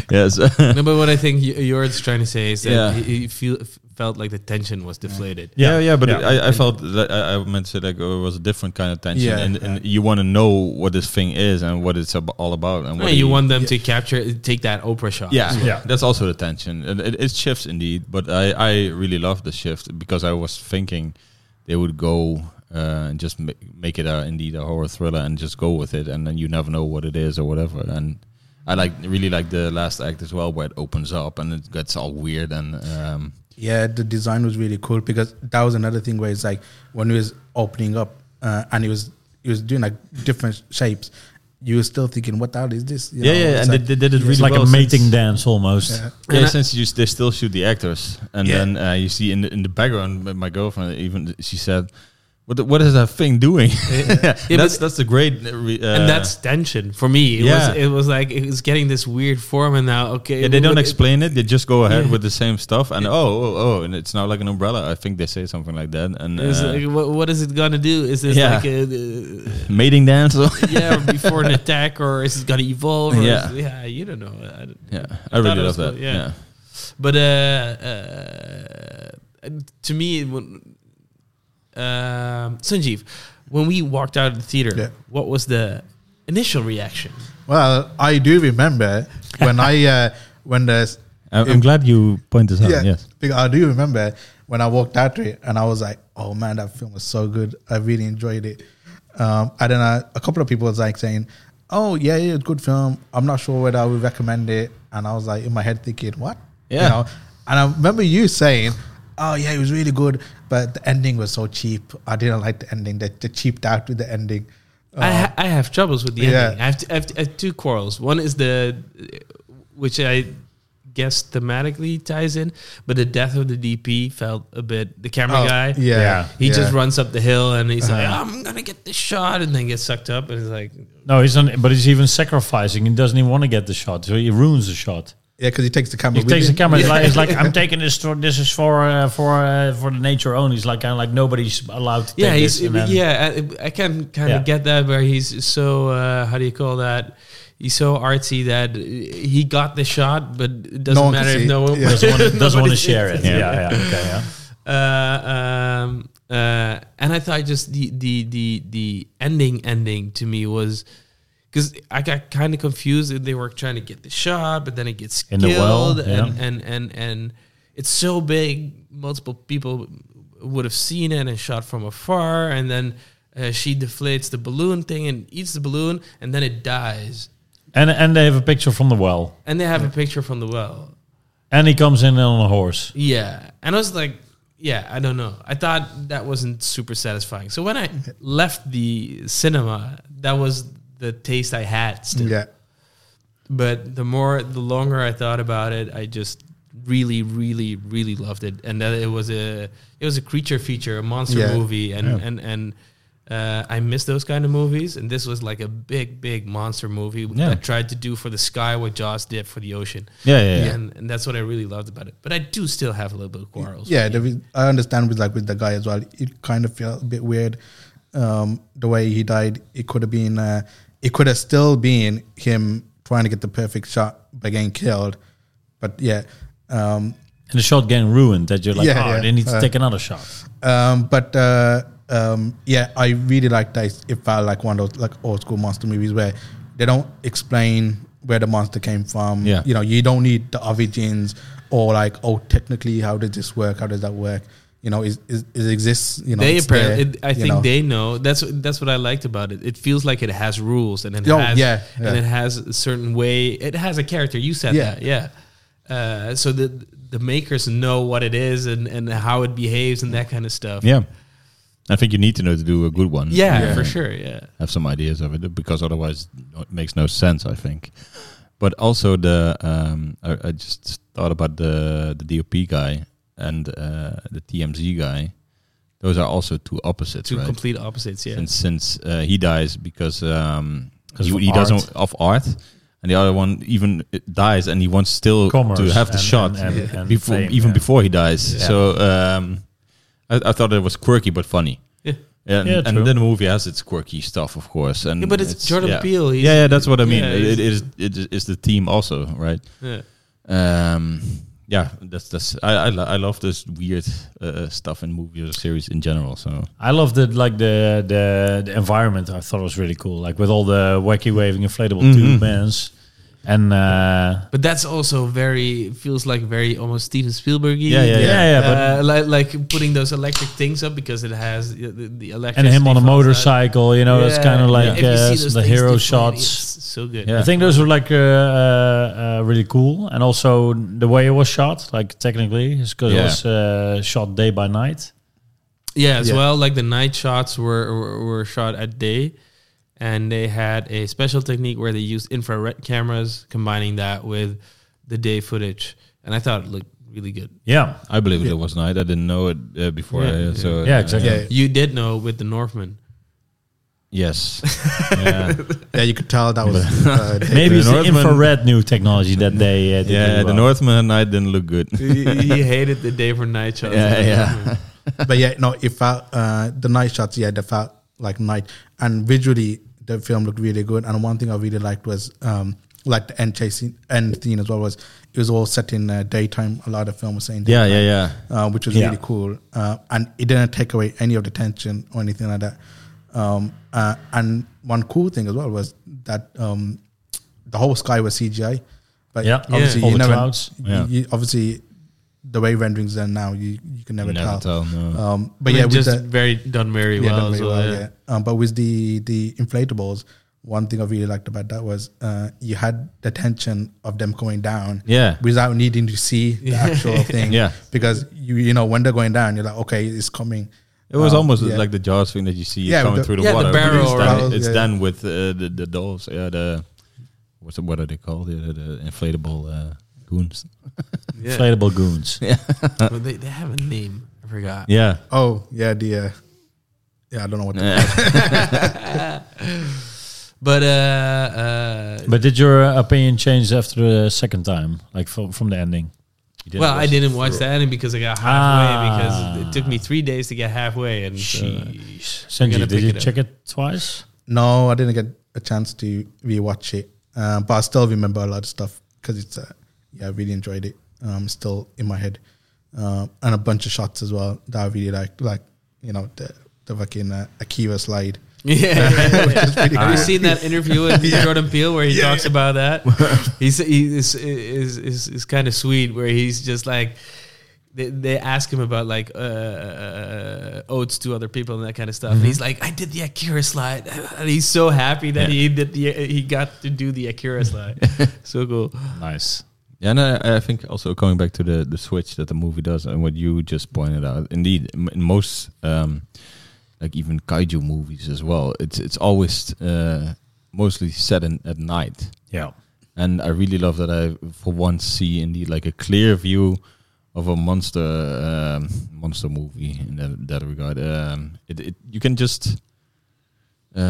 Yes,
no, but what I think y- Jorrit's trying to say is that
Yeah.
he, he feel, f- felt like the tension was deflated.
Yeah, yeah, but
Yeah.
I, I felt that I, I meant to say like oh, it was a different kind of tension,
Yeah,
and, and you want to know what this thing is and what it's ab- all about, and
Yeah,
what
you
he-
want them to capture, take that Oprah shot.
Yeah,
Yeah.
yeah, that's also the tension. And It, it shifts indeed, but I I really love the shift because I was thinking they would go uh, and just ma- make it a, indeed a horror thriller and just go with it, and then you never know what it is or whatever. And I like really like the last act as well, where it opens up and it gets all weird and um,
Yeah, the design was really cool because that was another thing where it's like when he was opening up uh, and he was he was doing like different shapes, you were still thinking, "What the hell is this?" You know, it's like-
did it
It's like a mating dance almost.
Yeah.
Yeah,
And I-
since you, s- they still shoot the actors, and
Yeah.
then uh, you see in the, in the background, my- my girlfriend even she said, "What the- what is that thing doing?"
but-
that's that's the great. uh, re- Uh,
and that's tension for me. It
Yeah.
was it was like it was getting this weird form, and now okay,
yeah, they don't
look-
explain it. They just go ahead with the same stuff, and oh, oh, oh, and it's now like an umbrella. I think they say something like that, and
It's
uh,
like, what, what is it gonna do? Is this
Yeah.
like a, uh,
mating dance.
yeah or before an attack, or is it gonna evolve? Or is-
Yeah.
yeah, you don't know. I don't-
yeah,
I
I
thought it
really love
was
that.
cool, yeah.
yeah.
But uh, uh, to me, when, um Sanjeev, when we walked out of the theater,
Yeah.
what was the initial reaction?
Well, I do remember when I uh, when the
I'm, I'm glad you point this out.
yeah,
Yes,
because I do remember when I walked out to it and I was like, "Oh man, that film was so good. I really enjoyed it." Um, I don't know. A couple of people was like saying, "Oh yeah, yeah, it's good film. I'm not sure whether I would recommend it." And I was like in my head thinking, "What?"
Yeah.
And I remember you saying, "Oh yeah, it was really good, but the ending was so cheap. I didn't like the ending. They, they cheaped out with the ending."
I, ha- I have troubles with the
Uh, Yeah.
ending. I have, t- I, have t- I have two quarrels. One is the, which I guess thematically ties in, but the death of the DP felt a bit. The camera
Oh,
guy,
Yeah.
he
yeah. Uh-huh.
just runs up the hill and he's like, "I'm gonna get this shot," and then gets sucked up, and it's like,
No, he's not. But he's even sacrificing. He doesn't even want to get the shot, so he ruins the shot.
Yeah, because he takes the camera.
He
with
takes the
him.
camera. It's like, it's like I'm taking this. For, this is for uh, for uh, for the nature only. He's like kind of like nobody's allowed to.
yeah,
take
he's
this and then-
yeah. I, I can kind of
Yeah.
get that where he's so uh, how do you call that? He's so artsy that he got the shot, but it doesn't
No one can
matter if
see.
no one
Yeah.
doesn't want to doesn't want to
nobody
share it.
sees
Yeah, yeah, okay, yeah.
Uh, um, uh, and I thought just the the the the ending ending to me was because I got kind of confused and they were trying to get the shot, but then it gets
In
killed
the well,
and, and and and it's so big, multiple people would have seen it and shot from afar, and then. Uh, she deflates the balloon thing and eats the balloon, and then it dies.
And and they have a picture from the well,
And they have a picture from the well.
and he comes in on a horse.
Yeah. And I was like, yeah, I don't know. I thought that wasn't super satisfying. So when I left the cinema, that was the taste I had still.
Yeah.
But the more, the longer I thought about it, I just really, really, really loved it. And that it was a, it was a creature feature, a monster
Yeah.
movie, and and and. Uh, I miss those kind of movies, and this was like a big, big monster movie
Yeah.
that tried to do for the sky what Jaws did for the ocean.
yeah, yeah, yeah.
And, and that's what I really loved about it. But I do still have a little bit of quarrels.
Yeah, there is, I understand with like with the guy as well. It kind of felt a bit weird. Um, the way he died, it could have been, uh, it could have still been him trying to get the perfect shot but getting killed. But yeah, um,
And the shot getting ruined. That you're like,
Yeah,
oh,
yeah,
they need to
uh,
take another shot.
um, but uh, um, yeah, I really liked that. It felt like one of those like old school monster movies where they don't explain where the monster came from.
Yeah.
you know, you don't need the origins or like, oh, technically, how did this work? How does that work? you know, is, is, it exists. You know,
they
it's there,
apparently, it, I
you
think
know.
they know. That's that's what I liked about it. It feels like it has rules, and it
Oh,
has,
yeah, yeah.
and it has a certain way. It has a character. You said
Yeah.
that, yeah. Uh, so the the makers know what it is and and how it behaves and that kind of stuff.
Yeah. I think you need to know to do a good one.
yeah,
Uh,
for sure. Yeah,
Have some ideas of it because otherwise it makes no sense, I think. But also the um, I, I just thought about the the DOP guy and uh, the TMZ guy. Those are also two opposites,
two
right?
complete opposites. Yeah,
And since uh, he dies because um,
'Cause
he,
of
he
art.
doesn't of art, and the other one even uh, dies, and he wants still
Commerce
to have the
and-
shot
and- and- and
before,
fame,
even
yeah.
before he dies.
Yeah.
So um, I, I thought it was quirky but funny.
Yeah.
And,
Yeah,
and
true.
then the movie has its quirky stuff, of course. And
Yeah, but it's Jordan
yeah.
Peele, he's-
yeah, yeah, that's what I mean.
yeah,
it, it
he's-
is it is it's the theme also, right?
yeah.
Um, yeah, that's that's I I, lo- I love this weird uh, stuff in movies or series in general. So
I loved it, like the, the the environment. I thought was really cool, like with all the wacky waving inflatable
Mm-hmm.
tube bands, and uh,
But that's also very feels like very almost Steven Spielberg.
Yeah, yeah,
yeah, yeah,
uh, like, like putting those electric things up because it has uh, the, the
but
electric
and him on a motorcycle. You know, that's kind of like uh, the hero shots.
So good.
Yeah.
I think those were like uh, uh, uh, really cool, and also the way it was shot, like technically, because
Yeah.
it was uh, shot day by night.
Yeah, as
Yeah.
well. Like the night shots were, were were shot at day, and they had a special technique where they used infrared cameras, combining that with the day footage, and I thought it looked really good.
Yeah,
I believe it was night. I didn't know it uh, before.
Yeah,
I, so
yeah,
uh,
exactly.
Yeah.
You did know with the Northman.
Yes. yeah.
yeah, you could tell that was uh,
Maybe
The
it's the
Northman-
infrared new technology that they uh, did
yeah.
really
The
well.
Northman at night didn't look good.
he, he hated the day for night shots.
Yeah, yeah.
but yeah, no, it felt uh, the night shots. Yeah, they felt like night, and visually the film looked really good. And one thing I really liked was um, like the end chasing end scene as well was it was all set in uh, daytime. A lot of films was set in
Yeah,
daytime,
yeah, yeah.
uh, which was
Yeah.
really cool, uh, and it didn't take away any of the tension or anything like that. Um, uh, and one cool thing as well was that um, the whole sky was CGI. But
Yeah.
obviously
Yeah. All
you
the
never,
clouds.
you-
Yeah.
you- obviously the way rendering's done now, you, you can never,
Never tell. no.
um,
But
but yeah, with
Mm. just
the,
very done very
yeah,
well.
done very
so,
well,
yeah.
yeah. Um, but with the the inflatables, one thing I really liked about that was uh, you had the tension of them going down
yeah.
without needing to see the actual thing.
Yeah.
because you you know when they're going down, you're like, okay, it's coming.
It was
Um,
almost
yeah.
like the Jaws thing that you see
Yeah,
coming
the-
through the
yeah, the
water. but
barrel,
it's done,
right?
it's
Yeah.
done with uh, the, the dolls. Yeah, the what's it, what are they called? The, the, the inflatable uh, goons.
Yeah.
inflatable goons.
But they, they have a name. I forgot.
Yeah.
Oh yeah, the uh, yeah, I don't know what. The,
But uh, uh,
But did your uh, opinion change after the second time, like from from the ending? You didn't
well,
watch
I
it.
didn't watch the ending because I got halfway
Ah.
because it took me three days to get halfway and uh, so-
Jeez.
We're
Sanjeev,
gonna
did
pick
you
it up.
check it twice?
no, I didn't get a chance to rewatch it, um, but I still remember a lot of stuff because it's uh, yeah, I really enjoyed it. Um, still in my head, um, and a bunch of shots as well that I really liked, like you know the the fucking uh, Akira slide.
yeah. yeah, yeah.
It's pretty
Have you
cool.
seen that interview with Jordan Peele where he talks about that? He's he is is is, is kind of sweet where he's just like. They, they ask him about like uh, odes to other people and that kind of stuff. And he's like, "I did the Akira slide," and he's so happy that he did the he got to do the Akira slide. so cool.
Nice.
Yeah, and I, I think also coming back to the the switch that the movie does, and what you just pointed out, indeed, m- in most um, like even kaiju movies as well, it's it's always uh, mostly set in, at night,
Yeah.
and I really love that I for once see indeed like a clear view of a monster um, monster movie in that, that regard. Um, it, it you can just um,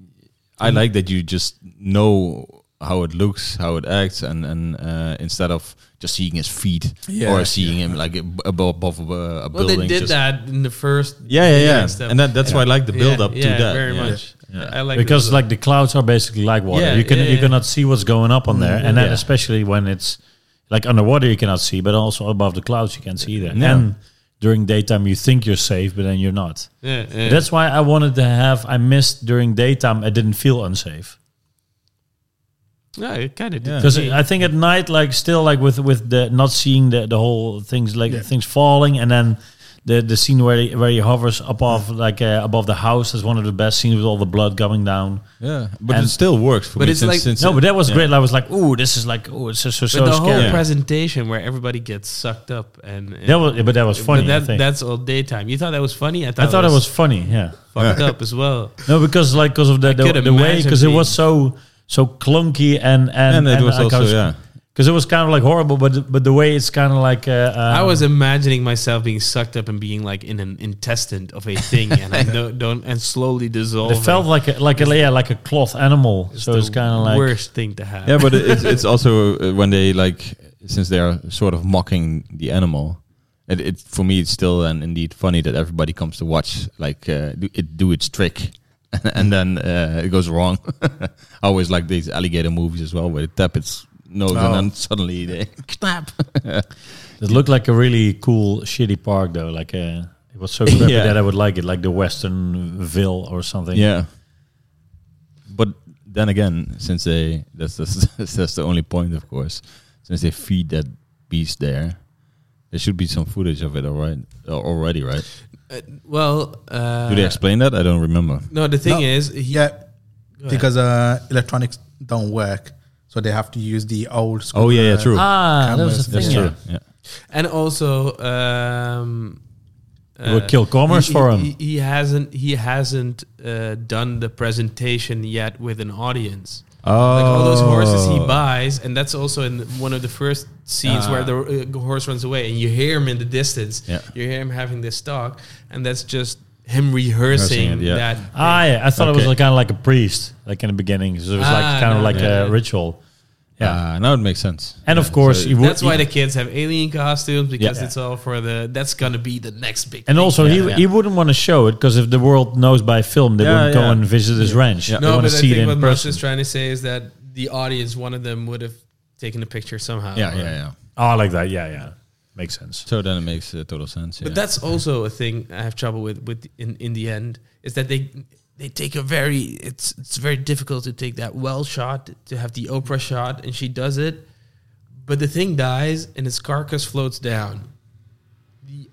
Mm.
I like that you just know how it looks, how it acts, and and uh, instead of just seeing his feet
Yeah.
or seeing him like ab- above, above a, a
Well,
building.
they did
just-
that in the first.
Yeah, yeah, yeah,
and stuff.
and that, that's why I like the
Yeah,
build up to
yeah,
that.
very
yeah.
much. I like
because
the-
like the clouds are basically like water.
Yeah,
you can
yeah,
you
yeah. Mm,
cannot see what's going up on there, and then
Yeah.
especially when it's like underwater you cannot see, but also above the clouds you can see that.
Yeah.
And during daytime you think you're safe, but then you're not.
Yeah, yeah.
That's why I wanted to have. I missed during daytime. I didn't feel unsafe
no, it kind of did.
Yeah.
because I think at night, like still, like with with the not seeing the the whole things like things falling, and then the the scene where he, where he hovers up off like uh, above the house is one of the best scenes with all the blood coming down.
Yeah, but it
And-
still works for
But
me.
it's
since,
like-
since
No, but that was
yeah.
great. I was like, "Ooh, this is like, oh, it's just so,
But
so
the
scary."
whole
Yeah.
presentation where everybody gets sucked up and, and
That was, but that was funny.
But that,
I think.
that's all daytime. You thought that was funny? I thought,
I thought it was funny. Yeah.
fucked up as well.
No, because like because of the the,
could
the way
imagine
because it
being-
was so so clunky and
and
and
it was also yeah.
because it was kind of like horrible, but but the way it's kind of like uh,
I
um,
was imagining myself being sucked up and being like in an intestine of a thing, and I don't, don't and slowly dissolve.
It felt like a like a yeah like a cloth animal. so it's kind of like
worst thing to have.
Yeah, but it- it's it's also uh, when they like since they are sort of mocking the animal. It, it for me it's still and indeed funny that everybody comes to watch like uh, do, it do its trick and then uh, it goes wrong. I always like these alligator movies as well where they tap its nose
Oh.
and then suddenly they snap.
it looked like a really cool shitty park though. Like uh it was so crappy
Yeah.
that I would like it, like the Western Ville or something.
Yeah. But then again, since they that's that's, that's the only point, of course. Since they feed that beast there, there should be some footage of it, all right? Uh, Already, right?
Uh, well, uh,
Do they explain that? I don't remember.
no. The thing
No.
is, he,
Yeah,
Go ahead.
because uh, electronics don't work, so they have to use the old. School,
Oh yeah, yeah,
uh,
true.
Ah, that
Cameras,
was the
that's
thing.
true.
Yeah.
Yeah.
and also um,
It would kill commerce
he-
for him.
he- He, he hasn't he hasn't uh, done the presentation yet with an audience.
Oh,
Like all those horses he buys, and that's also in one of the first scenes
Ah.
where the uh, horse runs away, and you hear him in the distance.
Yeah.
You hear him having this talk, and that's just him rehearsing,
Rehearsing it, yeah.
that.
Ah, yeah. I thought it was
Okay.
like, kind of like a priest, like in the beginning. So it was
Ah,
like kind
no,
of like
yeah,
a
yeah.
ritual. Yeah.
Yeah, now it makes sense.
and of course, he would.
That's why the kids have alien costumes because
Yeah.
it's all for the. That's gonna be the next big.
and
thing.
also, he,
yeah.
he wouldn't want to show it because if the world knows by film, they
Yeah,
wouldn't
yeah.
go and visit his ranch. Uh, They
no,
want
but
to
I
see it
think what
in
Musk
person.
is trying to say is that the audience, one of them, would have taken a picture somehow.
Yeah,
or-
yeah, yeah.
Oh, I like that. Yeah, yeah. Makes sense.
So then it makes uh, total sense. Yeah.
But that's also a thing I have trouble with. With in, in the end is that they they take a very it's it's very difficult to take that well shot to have the Oprah shot, and she does it, but the thing dies and its carcass floats down. The-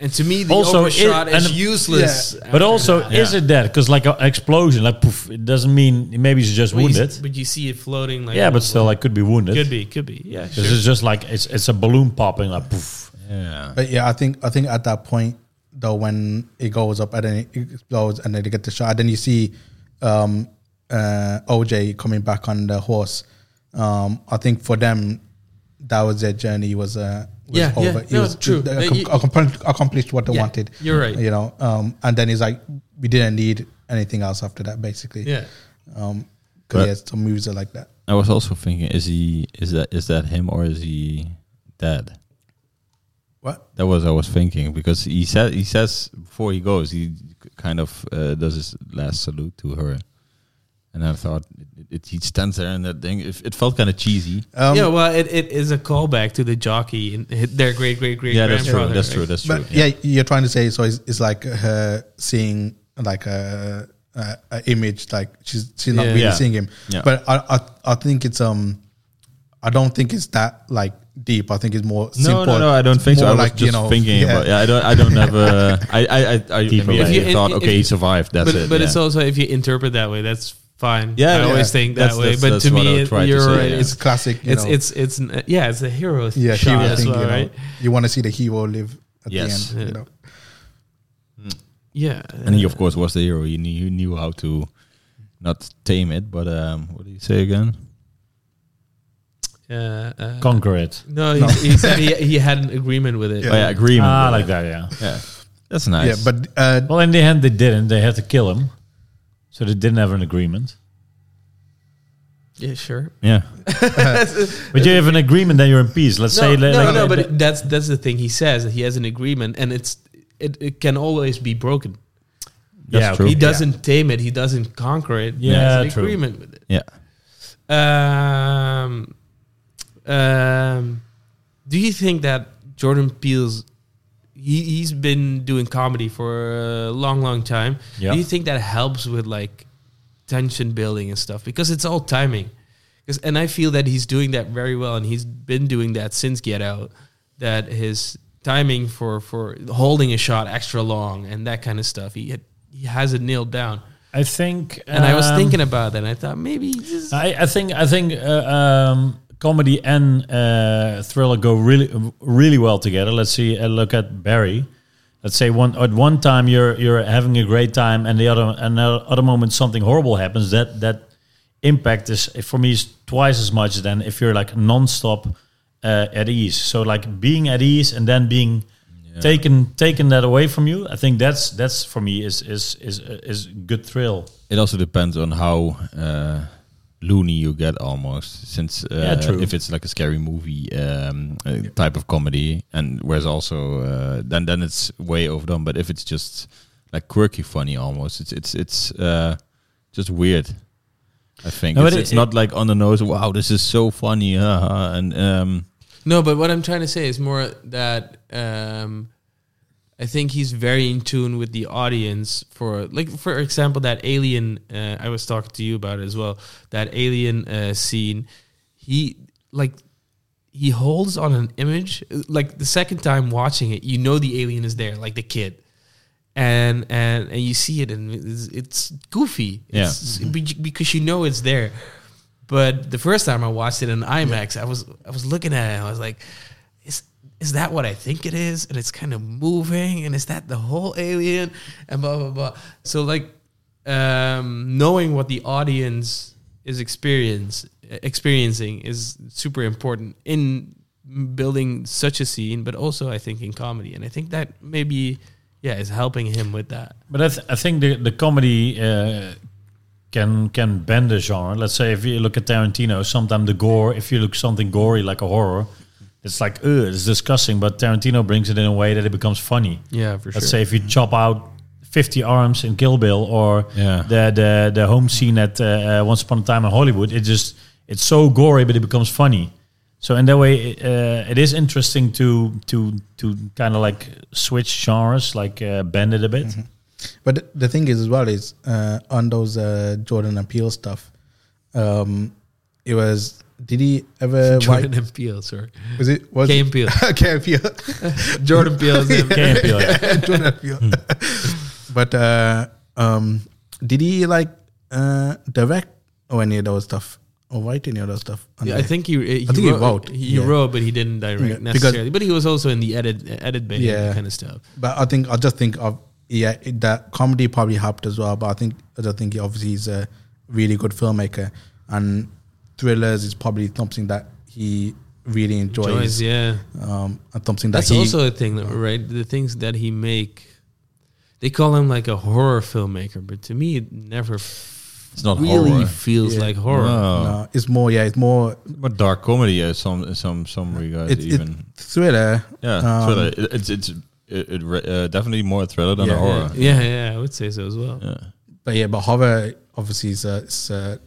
And to me, the
Also,
Oprah
it-
shot
and-
is useless.
But also, is
Yeah.
it that? Because like an explosion, like poof, it doesn't mean maybe she's just
But you,
wounded.
s- but you see it floating like
yeah, but still, like could be wounded.
could be could be yeah.
This
sure.
is just like it's it's a balloon popping like poof.
yeah.
But yeah, I think I think at that point though, when it goes up and then it explodes and then they get the shot, then you see um, uh, OJ coming back on the horse. Um, I think for them, that was their journey was, uh, was
Yeah, yeah.
over. It
No,
was
true.
they
They-
accom-
you-
accom- accomplished what they
Yeah,
wanted.
you're right.
You know, um, and then it's like we didn't need anything else after that, basically.
yeah.
Um,
Right.
because yeah, some movies are like that.
I was also thinking: is he is that is that him or is he dead?
What?
That was I was thinking because he said he says before he goes he kind of uh, does his last salute to her, and I thought it, it, he stands there and that thing. It, it felt kind of cheesy.
Um,
yeah, well, it, it is a callback to the jockey and hi- their great great great
Yeah, that's true.
grandfather,
That's
right?
true. That's true.
But yeah. you're trying to say so. It's, it's like her seeing like a, a, a image. Like she's she's not
Yeah.
really
Yeah.
seeing him.
Yeah.
But I, I I think it's um, I don't think it's that like deep. I think it's more
No,
simple.
no, no, I don't think so. I
More
was
like,
just
you know,
thinking
yeah.
about. Yeah, I don't. I don't have. A, I, I, I, I
Deeper
immediately
way. If you-
thought,
if-
okay,
if-
he survived. That's
but,
it.
But
yeah.
it's also if you interpret that way, that's fine.
Yeah,
I
yeah.
always think that
That's-
way.
that's-
but
that's
to
what I
me,
would try to
you're
say,
right.
yeah.
It's
It's classic. You
it's,
know.
it's it's n- yeah, it's a hero
yeah. She
shot
was
as
thinking.
well,
you, know,
right?
you want to see the hero live at
Yes.
the end.
Yeah.
You know.
Yeah,
and he of course was the hero. He knew, he knew how to not tame it, but um, what do you say again?
uh, uh,
Conquer it.
no, he, he said he, he had an agreement with it.
Oh yeah, agreement.
Ah,
with
like
it.
that. Yeah.
Yeah, that's nice.
Yeah, but uh,
Well, in the end, they didn't. They had to kill him, so they didn't have an agreement.
Yeah, sure.
yeah.
Uh,
But you have an agreement, then you're in peace. Let's
No,
say, li-
no,
like,
no,
uh,
but it- that's that's the thing. He says that he has an agreement, and it's it, it can always be broken.
That's
yeah,
true.
He
okay,
doesn't tame it. He doesn't conquer it. He
Yeah,
has an
true.
agreement with it.
Yeah.
Um, um, do you think that Jordan Peele's he, he's been doing comedy for a long, long time?
Yeah.
Do you think that helps with like tension building and stuff because it's all timing? 'Cause- and I feel that he's doing that very well, and he's been doing that since Get Out. That his timing for for holding a shot extra long and that kind of stuff. He had, he has it nailed down.
I think,
And I was
um,
thinking about that. and I thought maybe this is-
I, I think I think uh, um, comedy and uh, thriller go really really well together. Let's see a look at Barry. Let's say one at one time you're you're having a great time, and the other another other moment something horrible happens. That that impact is for me is twice as much than if you're like nonstop uh, at ease. So like being at ease and then being taken taken that away from you. I think that's that's for me is is is is good thrill.
It also depends on how uh, loony you get, almost. Since uh,
Yeah, true.
if it's like a scary movie um, uh, type of comedy, and whereas also uh, then then it's way overdone. But if it's just like quirky funny, almost it's it's it's uh, just weird. I think
No,
it's,
but
it's
it-
not like on the nose. Wow, this is so funny, haha," and um,
No, but what I'm trying to say is more that um, I think he's very in tune with the audience. For like, for example, that alien uh, I was talking to you about as well. That alien uh, scene, he like he holds on an image. Like the second time watching it, you know the alien is there, like the kid. And, and and you see it and it's, it's goofy,
Yeah.
It's- be- because you know it's there. But the first time I watched it in IMAX, I was I was looking at it and I was like, is is that what I think it is? And it's kind of moving, and is that the whole alien? And blah blah blah. So like um, knowing what the audience is experience e, experiencing is super important in building such a scene, but also I think in comedy, and I think that maybe yeah is helping him with that.
But I, th- I think the the comedy uh, can can bend the genre. Let's say if you look at Tarantino, sometimes the gore. If you look something gory like a horror, it's like Ugh, it's disgusting. But Tarantino brings it in a way that it becomes funny.
Yeah, for
Let's say if you chop out. 50 arms in Kill Bill or
Yeah.
the, the the home scene at uh, uh, Once Upon a Time in Hollywood. It just it's so gory, but it becomes funny. So in that way, uh, it is interesting to to to kind of like switch genres, like uh, bend it a
Mm-hmm.
bit.
But th- the thing is, as well, is uh, on those uh, Jordan and Peele stuff. Um, it was. Did he ever?
Jordan
Write,
and Peele, sorry.
was it? Was
Kane Peele.
it, Kane Peele.
Jordan Peele.
Can't feel it.
Jordan and Peele.
Hmm.
but uh, um, did he like uh, direct or any of those stuff or write any of those stuff? on
Yeah, I
there?
think he, he,
think he
wrote,
wrote,
He
yeah.
wrote, but he didn't direct
Yeah, because-
necessarily. But he was also in the edit edit bay
Yeah.
kind of stuff.
But I think I just think of yeah it, that comedy probably helped as well. But I think I just think he obviously he's a really good filmmaker, and thrillers is probably something that he really enjoys.
Joyce, yeah,
Um, and something that
that's
he
also a thing, though, right? The things that he make, they call him like a horror filmmaker, but to me, it never
it's not
really
horror.
feels
Yeah.
like horror.
No.
no, it's more yeah, it's more
But dark comedy, uh, some some some regards
it's,
even.
it's thriller.
Yeah,
Um,
thriller. It, it's it's it, it, re- uh, definitely more a thriller than
Yeah.
a horror. Yeah.
Yeah, yeah, I would say so as well. Yeah,
But yeah, but horror obviously is a, it's a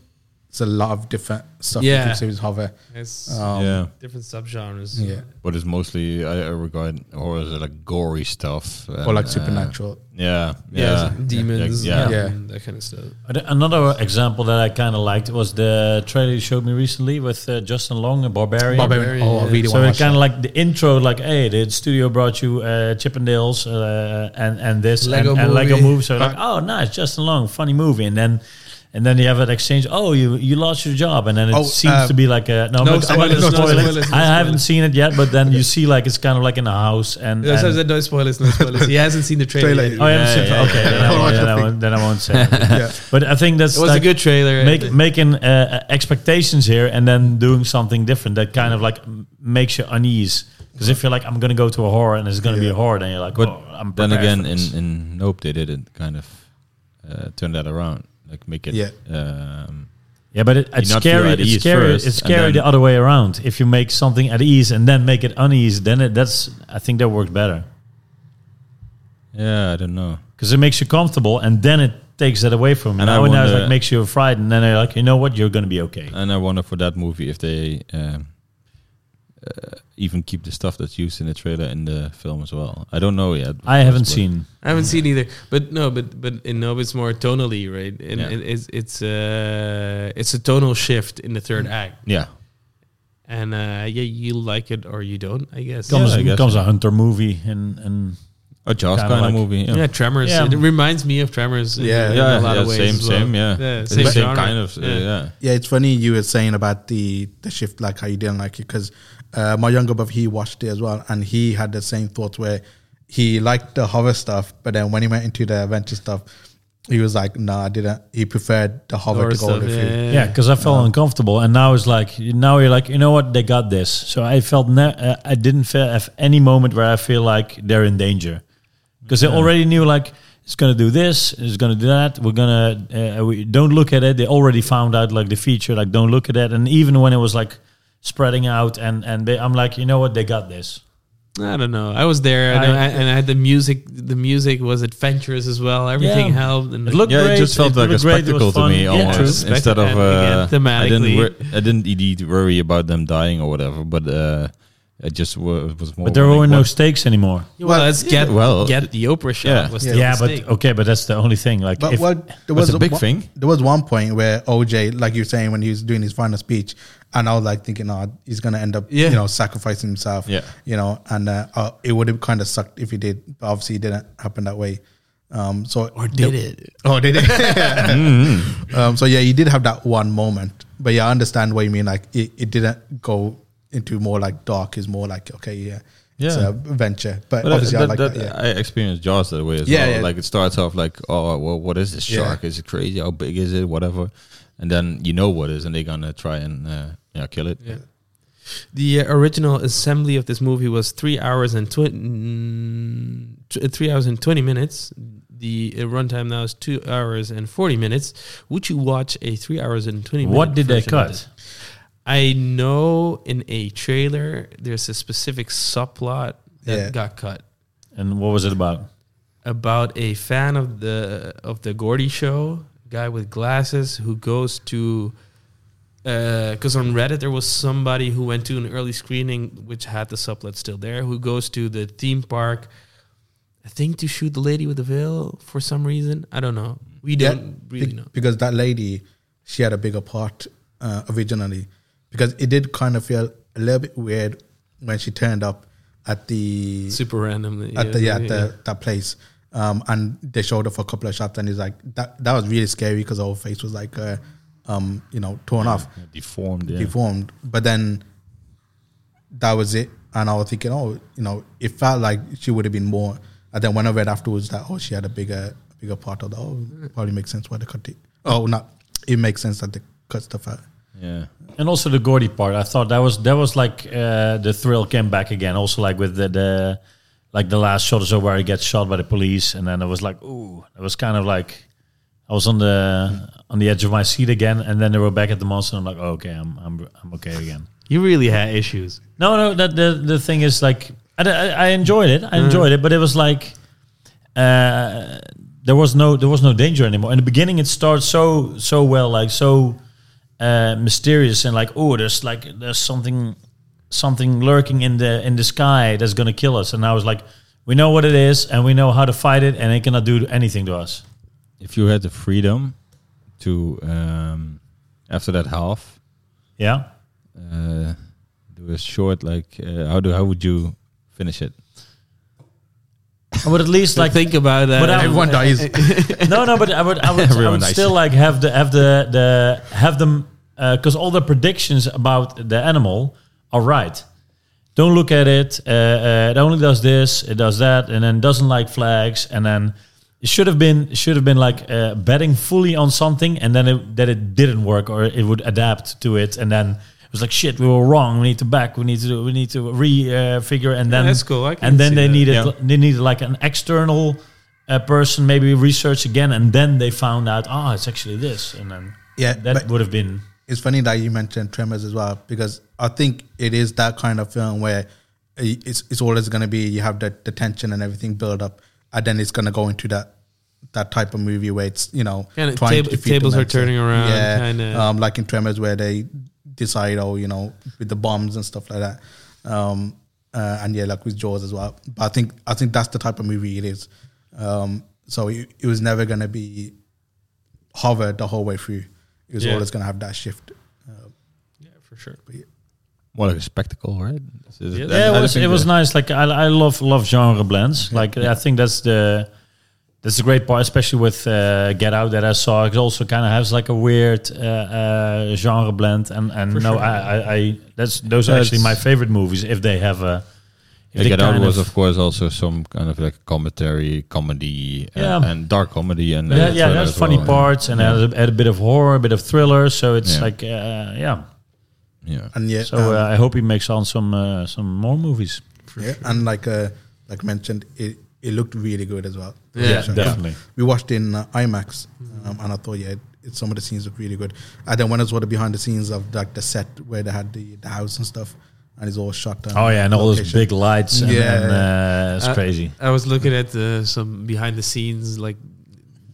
it's a lot of different stuff. you
Yeah.
can see with horror.
it's
Um,
yeah,
different subgenres.
yeah,
but it's mostly I, I regard horror as like gory stuff
or
and,
like
uh,
supernatural.
yeah,
yeah,
yeah,
demons,
Yeah,
Yeah.
and that kind of stuff.
But Another example that I kind of liked was the trailer you showed me recently with uh, Justin Long, a Barbarian.
Barbarian. Oh, I
yeah.
really
So
want
it
to watch.
kind of like the intro, like hey, the studio brought you uh, Chippendales uh, and and this
Lego
and, and Lego
Movie.
movie. So like oh nice, Justin Long, funny movie, and then. And then you have an exchange. Oh, you you lost your job, and then it
Oh,
seems
uh,
to be like a no.
no
but I'm not
spoilers,
gonna
no
spoil it.
spoilers, no
I haven't
spoilers.
seen it yet, but then you see like it's kind of like in a house, and,
No, so-
and-
so no spoilers, no spoilers. he hasn't seen the trailer.
Trailer.
yet.
oh, I haven't seen.
yeah,
okay,
yeah,
then,
yeah.
I won't, then, I won't, then
Watch the
I won't say. anything.
yeah.
But I think that's
It was
like
a good trailer.
make, making uh, uh, expectations here and then doing something different that kind of like m- makes you unease. Because if you're like, I'm going to go to a horror and it's going to
Yeah.
be a horror, then you're like,
But
oh, I'm
Then
prepared
again,
for
in
this."
in Nope, they didn't kind of uh, turn that around, like make it.
Yeah.
Um,
yeah, but it, it's
not feel
scary.
at
It's
ease
scary.
first
it's
and
scary
then-
the other way around. If you make something at ease and then make it unease, then it, that's I think that works better
yeah, I don't know.
because it makes you comfortable and then it takes that away from you.
And I
now and now it's
wonder- Uh,
like makes you frightened, and then you're like, you know what, you're going to be okay.
And I wonder for that movie if they um, uh, even keep the stuff that's used in the trailer in the film as well. I don't know yet.
I haven't
But-
seen.
I haven't seen either, but no, but but in Nob it's more tonally, right? And
Yeah. Mm.
it, it's it's uh it's a tonal shift in the third act,
Yeah,
and uh, yeah, you like it or you don't, I guess.
Come
Comes,
I guess.
becomes a hunter movie and and
A Jaws
Kinda
kind of
like-
movie.
yeah.
Yeah,
yeah, Tremors.
Yeah.
It reminds me of Tremors. in-
Yeah.
in
yeah,
a lot
yeah,
of ways.
same,
as well.
same. Yeah,
Yeah,
It's
same
the
genre.
kind of. uh,
Yeah.
yeah,
Yeah, it's funny you were saying about the the shift, like how you didn't like it, because uh, my younger brother he watched it as well, and he had the same thoughts where he liked the horror stuff, but then when he went into the adventure stuff, he was like, "No, I didn't." He preferred the horror,
Horror
to go
stuff,
with
yeah,
it.
yeah,
yeah, because I felt uncomfortable, and now it's like now you're like you know what they got this. So I felt ne- uh, I didn't feel have any moment where I feel like they're in danger because they already knew like it's gonna do this, it's gonna do that. We're gonna uh, we don't look at it. They already found out like the feature like don't look at it. And even when it was like spreading out and and they, I'm like you know what they got this.
I don't know. I was there, and
I-
I, and I had the music. The music was adventurous as well. Everything
Yeah.
helped. And
It looked
Yeah,
great.
it just felt like a
looked great, it was
spectacle to
fun.
me
Yeah,
almost.
true.
Instead of
Spectacle.
uh,
Again,
I didn't
thematically.
wor- I didn't indeed worry about them dying or whatever, but uh, I just wa- was more.
But there
like,
were no
what-
stakes anymore.
well, let's get
well,
get the Oprah shot.
yeah.
was
Yeah.
still
yeah,
the
but
stick.
okay, but that's the only thing. Like,
But
if,
what there
was a big
one-
thing.
There was one point where OJ, like you were saying, when he was doing his final speech, and I was like thinking, "Oh, he's gonna end up,
Yeah.
you know, sacrificing himself."
Yeah.
you know, and uh, uh, it would have kind of sucked if he did. But obviously, it didn't happen that way. Um, so
or did it?
Oh, did it?
Mm-hmm.
um, so yeah, you did have that one moment, but yeah, I understand what you mean. Like it, it didn't go into more like dark. Is more like okay, yeah, it's
Yeah.
a venture. But,
But uh,
obviously,
that,
I like
that-
that. yeah.
I experienced Jaws that way as
Yeah,
well.
yeah.
Like it starts off like, oh, well, what is this
Yeah.
shark? Is it crazy? How big is it? Whatever. And then you know what it is, and they're gonna try and uh, yeah, kill it.
Yeah. The uh, original assembly of this movie was three hours and twi- mm, tw- three hours and twenty minutes. The uh, runtime now is two hours and forty minutes. Would you watch a three hours and twenty?
what
minute
did they
version of this?
cut?
I know in a trailer there's a specific subplot that
Yeah.
got cut
And what was it about?
about a fan of the of the Gordy show, guy with glasses who goes to because on Reddit there was somebody who went to an early screening which had the sublet still there, who goes to the theme park, I think to shoot the lady with the veil for some reason. I don't know. We
Yeah,
don't really
be-
know.
because that lady she had a bigger part uh, originally because it did kind of feel a little bit weird when she turned up at the
Super randomly.
at the yeah, at the, that place. Um, and they showed her for a couple of shots, and he's like, "That that was really scary because her whole face was like, uh, um, you know, torn off,
Deformed. Yeah.
deformed." But then that was it, and I was thinking, "Oh, you know, it felt like she would have been more." And then when I read afterwards that, oh, she had a bigger bigger part of the, oh, probably makes sense why they cut it. Oh, not it makes sense that they cut stuff out.
yeah.
And also the Gordy part. I thought that was that was like uh, the thrill came back again. Also like with the, the like the last shot or so where he gets shot by the police, and then I was like, ooh, it was kind of like I was on the on the edge of my seat again, and then they were back at the monster. And I'm like, oh, okay, I'm I'm I'm okay again.
You really had issues.
No, no. That the the thing is like I, I, I enjoyed it. I enjoyed it, but it was like uh, there was no there was no danger anymore. In the beginning, it starts so so well, like so uh, mysterious and like oh, there's like there's something something lurking in the in the sky that's gonna kill us. And I was like, we know what it is, and we know how to fight it, and it cannot do anything to us.
If you had the freedom to um, after that half
Yeah.
uh, do a short like uh, how do how would you finish it?
But at least like
Like think about that.
But I-
Everyone dies.
no, no, but I would, I would, I
Everyone
would
likes
still
it.
like have the have the the have them because all the predictions about the animal are right. Don't look at it. Uh, uh, it only does this. It does that, and then doesn't like flags. And then it should have been it should have been like uh, betting fully on something, and then it, that it didn't work, or it would adapt to it, and then. It was like shit. We were wrong. We need to back. We need to. We need to refigure. Uh, figure," and then
that's cool. I can
and then
see
they
that.
needed
Yeah.
they needed like an external uh, person maybe research again and then they found out oh it's actually this and then
Yeah,
that
but-
would have been
it's funny that you mentioned Tremors as well because I think it is that kind of film where i- it's it's always going to be you have the, the tension and everything build up, and then it's going to go into that that type of movie where it's you know
Kinda
trying
tab-
to defeat
tables are
dementia.
turning around, kinda.
um, like in Tremors where they decide oh you know with the bombs and stuff like that, um, uh, and yeah like with Jaws as well. But I think I think that's the type of movie it is. Um, so it, it was never going to be hover the whole way through. It was
Yeah.
always going to have that shift.
yeah, for sure.
more like a spectacle, right? This is-
Yeah,
I-
yeah,
I
it was,
think
it was
that-
nice. Like I, I love love genre blends. Like I think that's the that's the great part, especially with uh, Get Out that I saw. It also kind of has like a weird uh, uh, genre blend, and and
For
no,
sure.
I, I, I that's those are
Yeah,
actually
it's-
my favorite movies if they have a. if
Yeah,
they
Get Out
kind
was, of course, also some kind of like commentary, comedy, and,
Yeah.
and dark comedy, and
yeah,
uh,
yeah,
thriller
there's
as
funny
well,
parts, and had, a, had a bit of horror, a bit of thriller. So it's
Yeah.
like, uh, yeah.
Yeah,
and yeah,
So
um,
uh, I hope he makes on some uh, some more movies.
yeah, and like uh, like mentioned, it it looked really good as well.
Yeah, Yeah,
definitely.
We watched in uh, IMAX, um, and I thought yeah, it, it- some of the scenes look really good. And then when I saw the behind the scenes of like the set where they had the, the house and stuff, and it's all shot. Um,
Oh yeah, and all those
location.
big lights. And,
Yeah.
and, uh, it's
Uh,
crazy.
I was looking at uh, some behind the scenes, like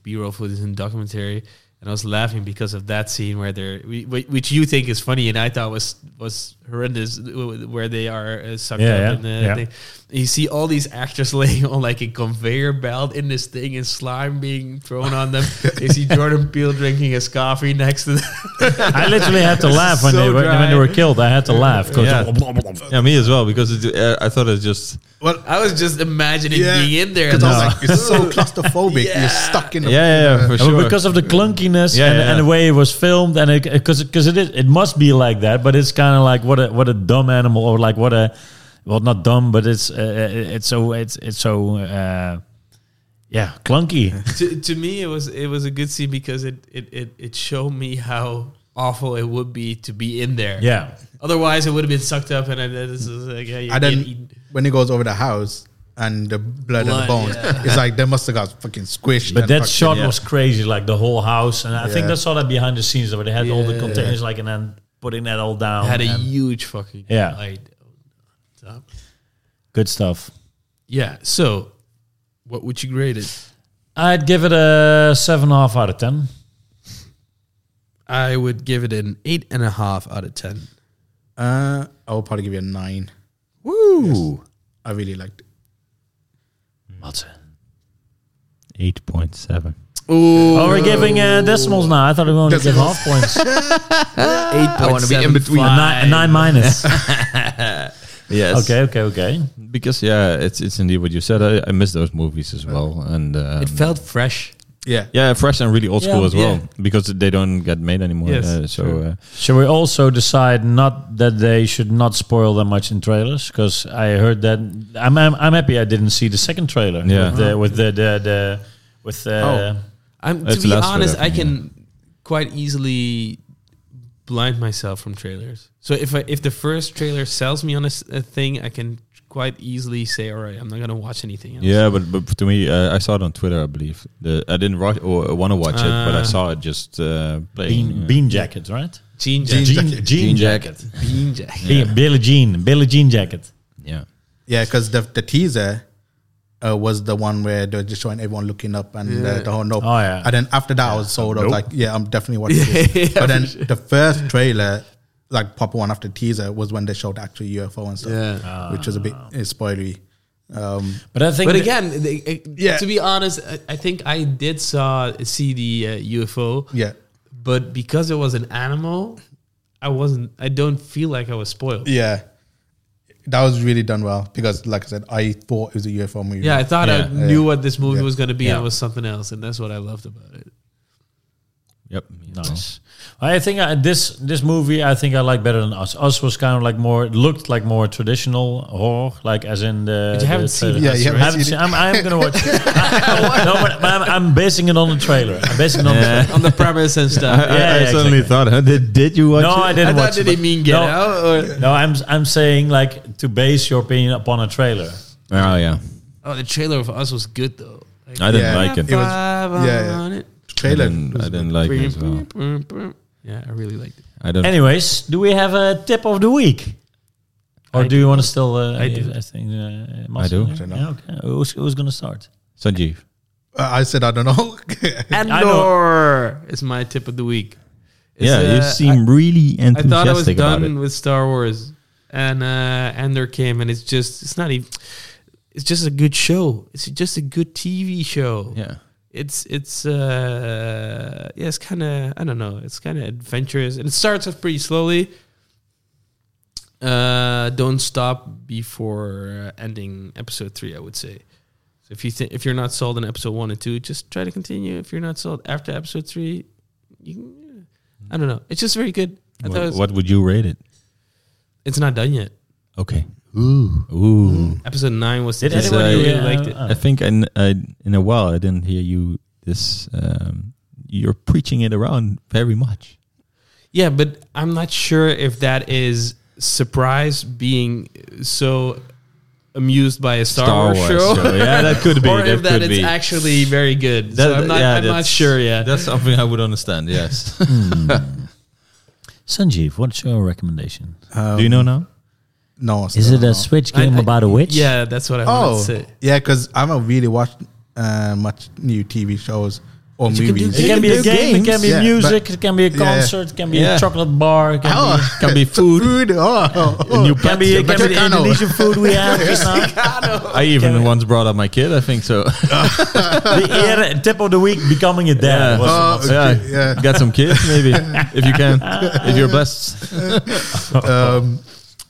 B-roll footage and documentary, and I was laughing because of that scene where they're, wh- wh- which you think is funny, and I thought was was horrendous, wh- where they are uh, sucked
Yeah,
up.
yeah,
and, uh,
yeah.
thing. you see all these actors laying on like a conveyor belt in this thing, and slime being thrown on them. you see Jordan Peele drinking his coffee next to them.
I literally had to laugh when
so
they were when
dry.
they were killed. I had to laugh. 'cause-
Yeah. yeah, me as well because it, uh, I thought it just
Well,
I was just imagining
Yeah,
being in there.
because
and
I was
just-
like, it's so claustrophobic.
Yeah.
You're stuck in
yeah,
the
yeah, yeah for
And
sure.
Because of the clunkiness
Yeah,
and,
yeah, yeah.
and the way it was filmed, and because because it is, it must be like that, but it's kind of like what a what a dumb animal or like what a well not dumb, but it's uh, it's so it's it's so uh, yeah clunky.
to, to me it was it was a good scene because it, it it it showed me how awful it would be to be in there.
Yeah,
Otherwise, it would have been sucked up, and I, this is like yeah, you're
And
getting
then
eaten.
when he goes over the house and the blood, and
Blood,
the bones,
yeah.
it's like they must have got fucking squished.
But
and
that
fucking-
shot
yeah.
was crazy, like the whole house, and I think
Yeah.
that's all that behind the scenes where they had all the
Yeah.
containers, like, and then putting that all down.
had a
and-
huge fucking
Oh, Yeah.
light up.
good stuff.
Yeah. So, what would you grade it?
I'd give it a seven and a half out of ten.
I would give it an eight and a half out of ten.
Uh, I will probably give you a nine.
Woo,
I really liked it.
What?
eight point seven.
Ooh,
Oh, we're giving uh, decimals now. I thought we were only give half points. A
I want to be in between.
nine, a nine minus.
Yes.
okay, okay, okay.
Because yeah, it's it's indeed what you said. I, I miss those movies as well, and um,
It felt fresh.
Yeah.
yeah, fresh and really old
Yeah.
school as well
Yeah.
because they don't get made anymore.
Yes,
uh, so
true.
uh,
Should we also decide not that they should not spoil that much in trailers? Because I heard that I'm, I'm I'm happy I didn't see the second trailer.
Yeah.
with the with the the, the with uh,
I'm to
It's
be
less for
honest,
that,
I
yeah.
can quite easily blind myself from trailers. So if I, if the first trailer sells me on a, s- a thing, I can quite easily say, "All right, I'm not gonna watch anything." Else.
yeah, but, but to me, uh, I saw it on Twitter, I believe. The, I didn't watch or want to watch it, but I
Ah.
saw it just uh, playing.
bean,
yeah.
bean jacket, right?
Jean jacket.
Jean
Jean,
jacket.
jean
Jean
jacket.
Jean jacket.
Yeah. Billie Jean, Billie Jean jacket.
Yeah.
Yeah, because the, the teaser uh, was the one where they were just showing everyone looking up and uh, the whole nope.
Oh, yeah.
And then after that, I was sort of
Nope.
like, yeah, I'm definitely watching this. But then the first trailer, like proper one after teaser, was when they showed the actual UFO and stuff,
Yeah.
which was a bit uh, spoilery. Um,
But I think
But
that-
again, they, uh,
Yeah.
to be honest, I, I think I did saw see the uh, UFO,
yeah.
but because it was an animal, I wasn't. I don't feel like I was spoiled. Yeah,
Yeah. That was really done well because, like I said, I thought it was a UFO movie.
I thought I
Yeah.
knew
Yeah.
what this movie
Yeah.
was gonna be, and
Yeah.
it was something else, and that's what I loved about it.
Yep.
Nice. I think I, this this movie I think I like better than Us. Us was kind of like more it looked like more traditional horror, like as in the.
But you haven't
the
seen
trailer.
Us, Yeah, you
I
haven't
haven't seen.
seen
I'm, I'm gonna watch. it. no, but, but I'm, I'm basing it on the trailer. I'm basing it on. The
on the premise and stuff.
I,
Yeah,
I
yeah,
suddenly
exactly.
thought, huh, did, did you watch
No,
it?
I didn't
I thought
watch.
did
it,
he
but-
mean get
no,
out? Or,
No, I'm I'm saying like to base your opinion upon a trailer.
Oh, yeah.
oh, the trailer of Us was good though. Like,
I didn't
Yeah.
like it.
It was-
Vibe
yeah,
on it.
I
Trailer.
didn't, I
was-
didn't like it as well.
Yeah, I really liked it.
I don't.
Anyways, do we have a tip of the week? Or
I
do you want to still? Uh,
I do.
I think uh, Marcel?
do.
Yeah,
I
don't know.
Yeah, okay. Who's, who's going to start?
Sanjeev.
Uh, I said, I don't know.
Andor is my tip of the week. It's,
yeah,
uh,
you seem really
I, I thought I was
enthusiastic about
done
it.
with Star Wars, and uh, Andor came, and it's just it's not even. It's just a good show. It's just a good TV show.
Yeah.
It's it's uh yeah, it's kind of I don't know. It's kind of adventurous, and it starts off pretty slowly. uh, don't stop before uh, ending episode three. I would say. So if you think if you're not sold on episode one and two, just try to continue. If you're not sold after episode three, you can, I don't know. It's just very good. I thought it
What,
was-
what would you rate it?
it's not done yet.
Okay. Ooh. Ooh.
Episode nine was.
Did
the best.
anyone
I
hear-
really liked it?
uh,
I think I, n- I- in a while I didn't hear you this. Um, you're preaching it around very much.
Yeah, but I'm not sure if that is surprise being so amused by a Star, Wars, show,
Yeah, that could be.
or
that
if that
could
it's
be.
actually very good.
That-
so I'm not,
yeah,
I'm not
that's-
sure yet.
That's something I would understand. Yes.
Sanjeev, what's your recommendation?
Um,
Do you know now?
No,
Is
still
it a
no.
Switch
I-
game
I-
about a witch?
Yeah, that's what I wanted
Oh,
to say.
yeah, because I haven't really watched uh, much new TV shows or
you can do
movies.
It can
You
be
can
a
do
game, it can
games.
be
Yeah, but-
music, it can be a
Yeah, yeah.
concert, it can be
Yeah.
a chocolate bar, it can be
Oh,
Can be food.
food. Oh, oh.
new
It can be, it can be the
Vaticano.
Indonesian food we have just now.
I even once brought up my kid. I think so.
The era- tip of the week becoming a dad.
Yeah. Uh,
was-
Oh, okay,
yeah.
yeah.
Get some kids, maybe if you can, if you're blessed.
um,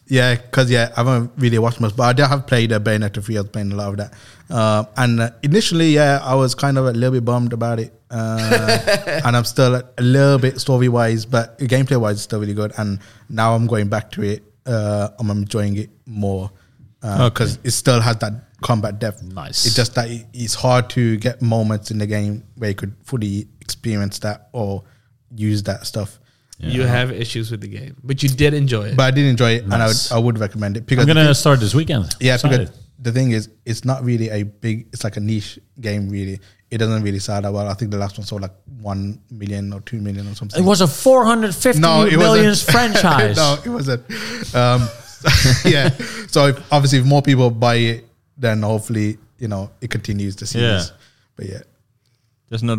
yeah, because yeah, I haven't really watched much, but I do have played uh, Bayonetta 3. I was playing a lot of that. Um, and uh, initially, yeah, I was kind of a little bit bummed about it. Uh, and I'm still a little bit story wise, but gameplay wise, it's still really good. And now I'm going back to it. Uh, I'm enjoying it more because it still has that combat depth.
Nice.
It's just that it, it's hard to get moments in the game where you could fully experience that or use that stuff.
You have issues with the game, but you did enjoy it.
But I did enjoy it,
Nice.
and I would, I would recommend it because
I'm gonna start this weekend.
yeah,
Excited.
because the thing is, it's not really a big. It's like a niche game, really. It doesn't really sell that well. I think the last one sold like one million or two million or something.
It was a 450
No, it
million
wasn't.
franchise.
no, it wasn't. Um, yeah. So if, obviously, if more people buy it, then hopefully, you know, it continues the series.
Yeah.
But yeah,
There's not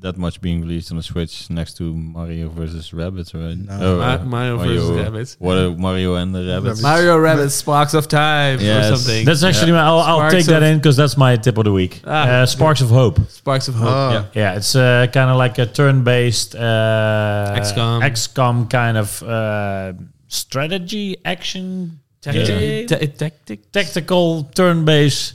that much being released on the Switch next to Mario versus Rabbits, right?
No.
uh,
Ma- Mario versus Rabbids.
What are Mario and the Rabbits?
Mario Rabbit Sparks of Time
Yes.
or something.
That's actually my. I'll, I'll
Sparks
take that
of-
in because that's my tip of the week.
Ah.
uh, Sparks of Hope.
Sparks of Hope.
Yeah.
Yeah, it's uh, kind of like a turn-based uh,
XCOM.
XCOM kind of uh, strategy action
Tactic,
Yeah.
ta- tactic,
tactical turn-based.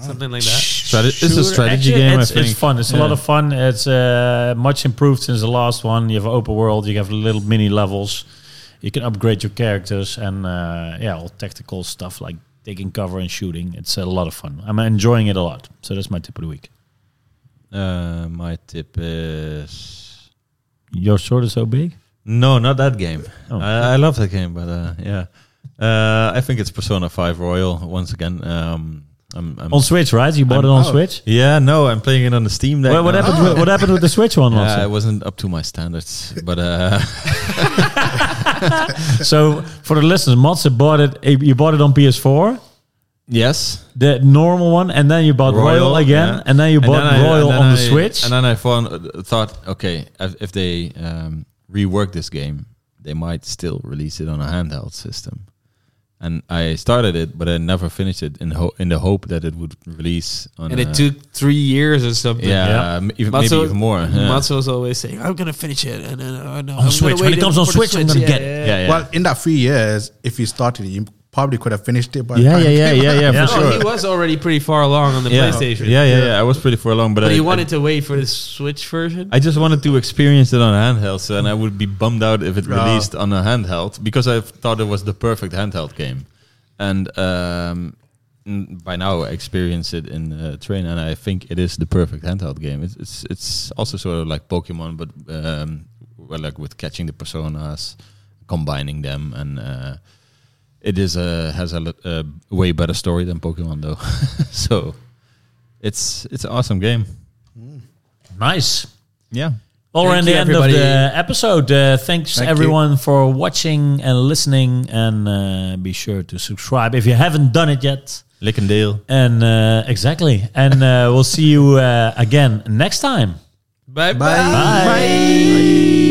something like that.
Strate- it's a
shooter
strategy
action.
game, I
It's, it's
think.
fun. It's a
Yeah.
lot of fun. It's uh, much improved since the last one. You have open world. You have little mini levels. You can upgrade your characters and uh, yeah, all tactical stuff like taking cover and shooting. It's a lot of fun. I'm enjoying it a lot. So that's my tip of the week.
Uh, my tip is
Your sword is so big.
no, not that game.
Oh.
I, I love that game, but uh, yeah, uh, I think it's Persona Five Royal once again. Um, I'm, I'm
On Switch, right? You bought it on
oh.
Switch.
yeah, no, I'm playing it on the Steam Deck.
Well, what
now.
happened? With, what happened with the Switch one?
Yeah, it
Lawson?
wasn't up to my standards, but uh,
so for the listeners, Matze bought it. eh, You bought it on PS4,
yes,
the normal one, and then you bought Royal, again,
yeah.
and then you bought
then I-
Royal
and then
on the
I-
Switch.
And then I found, uh, thought, okay, if if they um, rework this game, they might still release it on a handheld system. And I started it, but I never finished it in ho- in the hope that it would release on.
And
a-
it took three years or something.
Uh, yeah,
Yeah.
m- even,
Matsu-
maybe even more. Yeah.
Matsu's always saying, "I'm gonna finish it," and then uh, no, I'm gonna
Switch. When
wait
it comes on
for the
Switch, I'm gonna get it.
yeah,
yeah, yeah.
Well, in that three years, if you started it, you probably could have finished it by the
yeah,
time
yeah,
it
yeah,
came
yeah,
out.
yeah,
Yeah,
for
no,
sure.
he was already pretty far along on the
yeah.
PlayStation.
Yeah, yeah, yeah. I was pretty far along, but,
But
I,
he
I,
wanted to wait for the Switch version.
I just wanted to experience it on a handheld, so, and I would be bummed out if it released on a handheld because I thought it was the perfect handheld game. And um, n- by now, I experience it in uh, train, and I think it is the perfect handheld game. It's it's, it's also sort of like Pokemon, but um, well, like with catching the personas, combining them, and uh, it is a has a, lo- a way better story than Pokemon, though. so it's it's an awesome game.
Nice.
Yeah.
Well, we're
Thank
in the
you,
end
everybody.
of the episode. Uh, thanks
Thank
everyone for watching and listening, and uh, be sure to subscribe if you haven't done it yet.
Lickendale.
And uh, exactly, and uh, we'll see you uh, again next time.
Bye.
Bye.
Bye.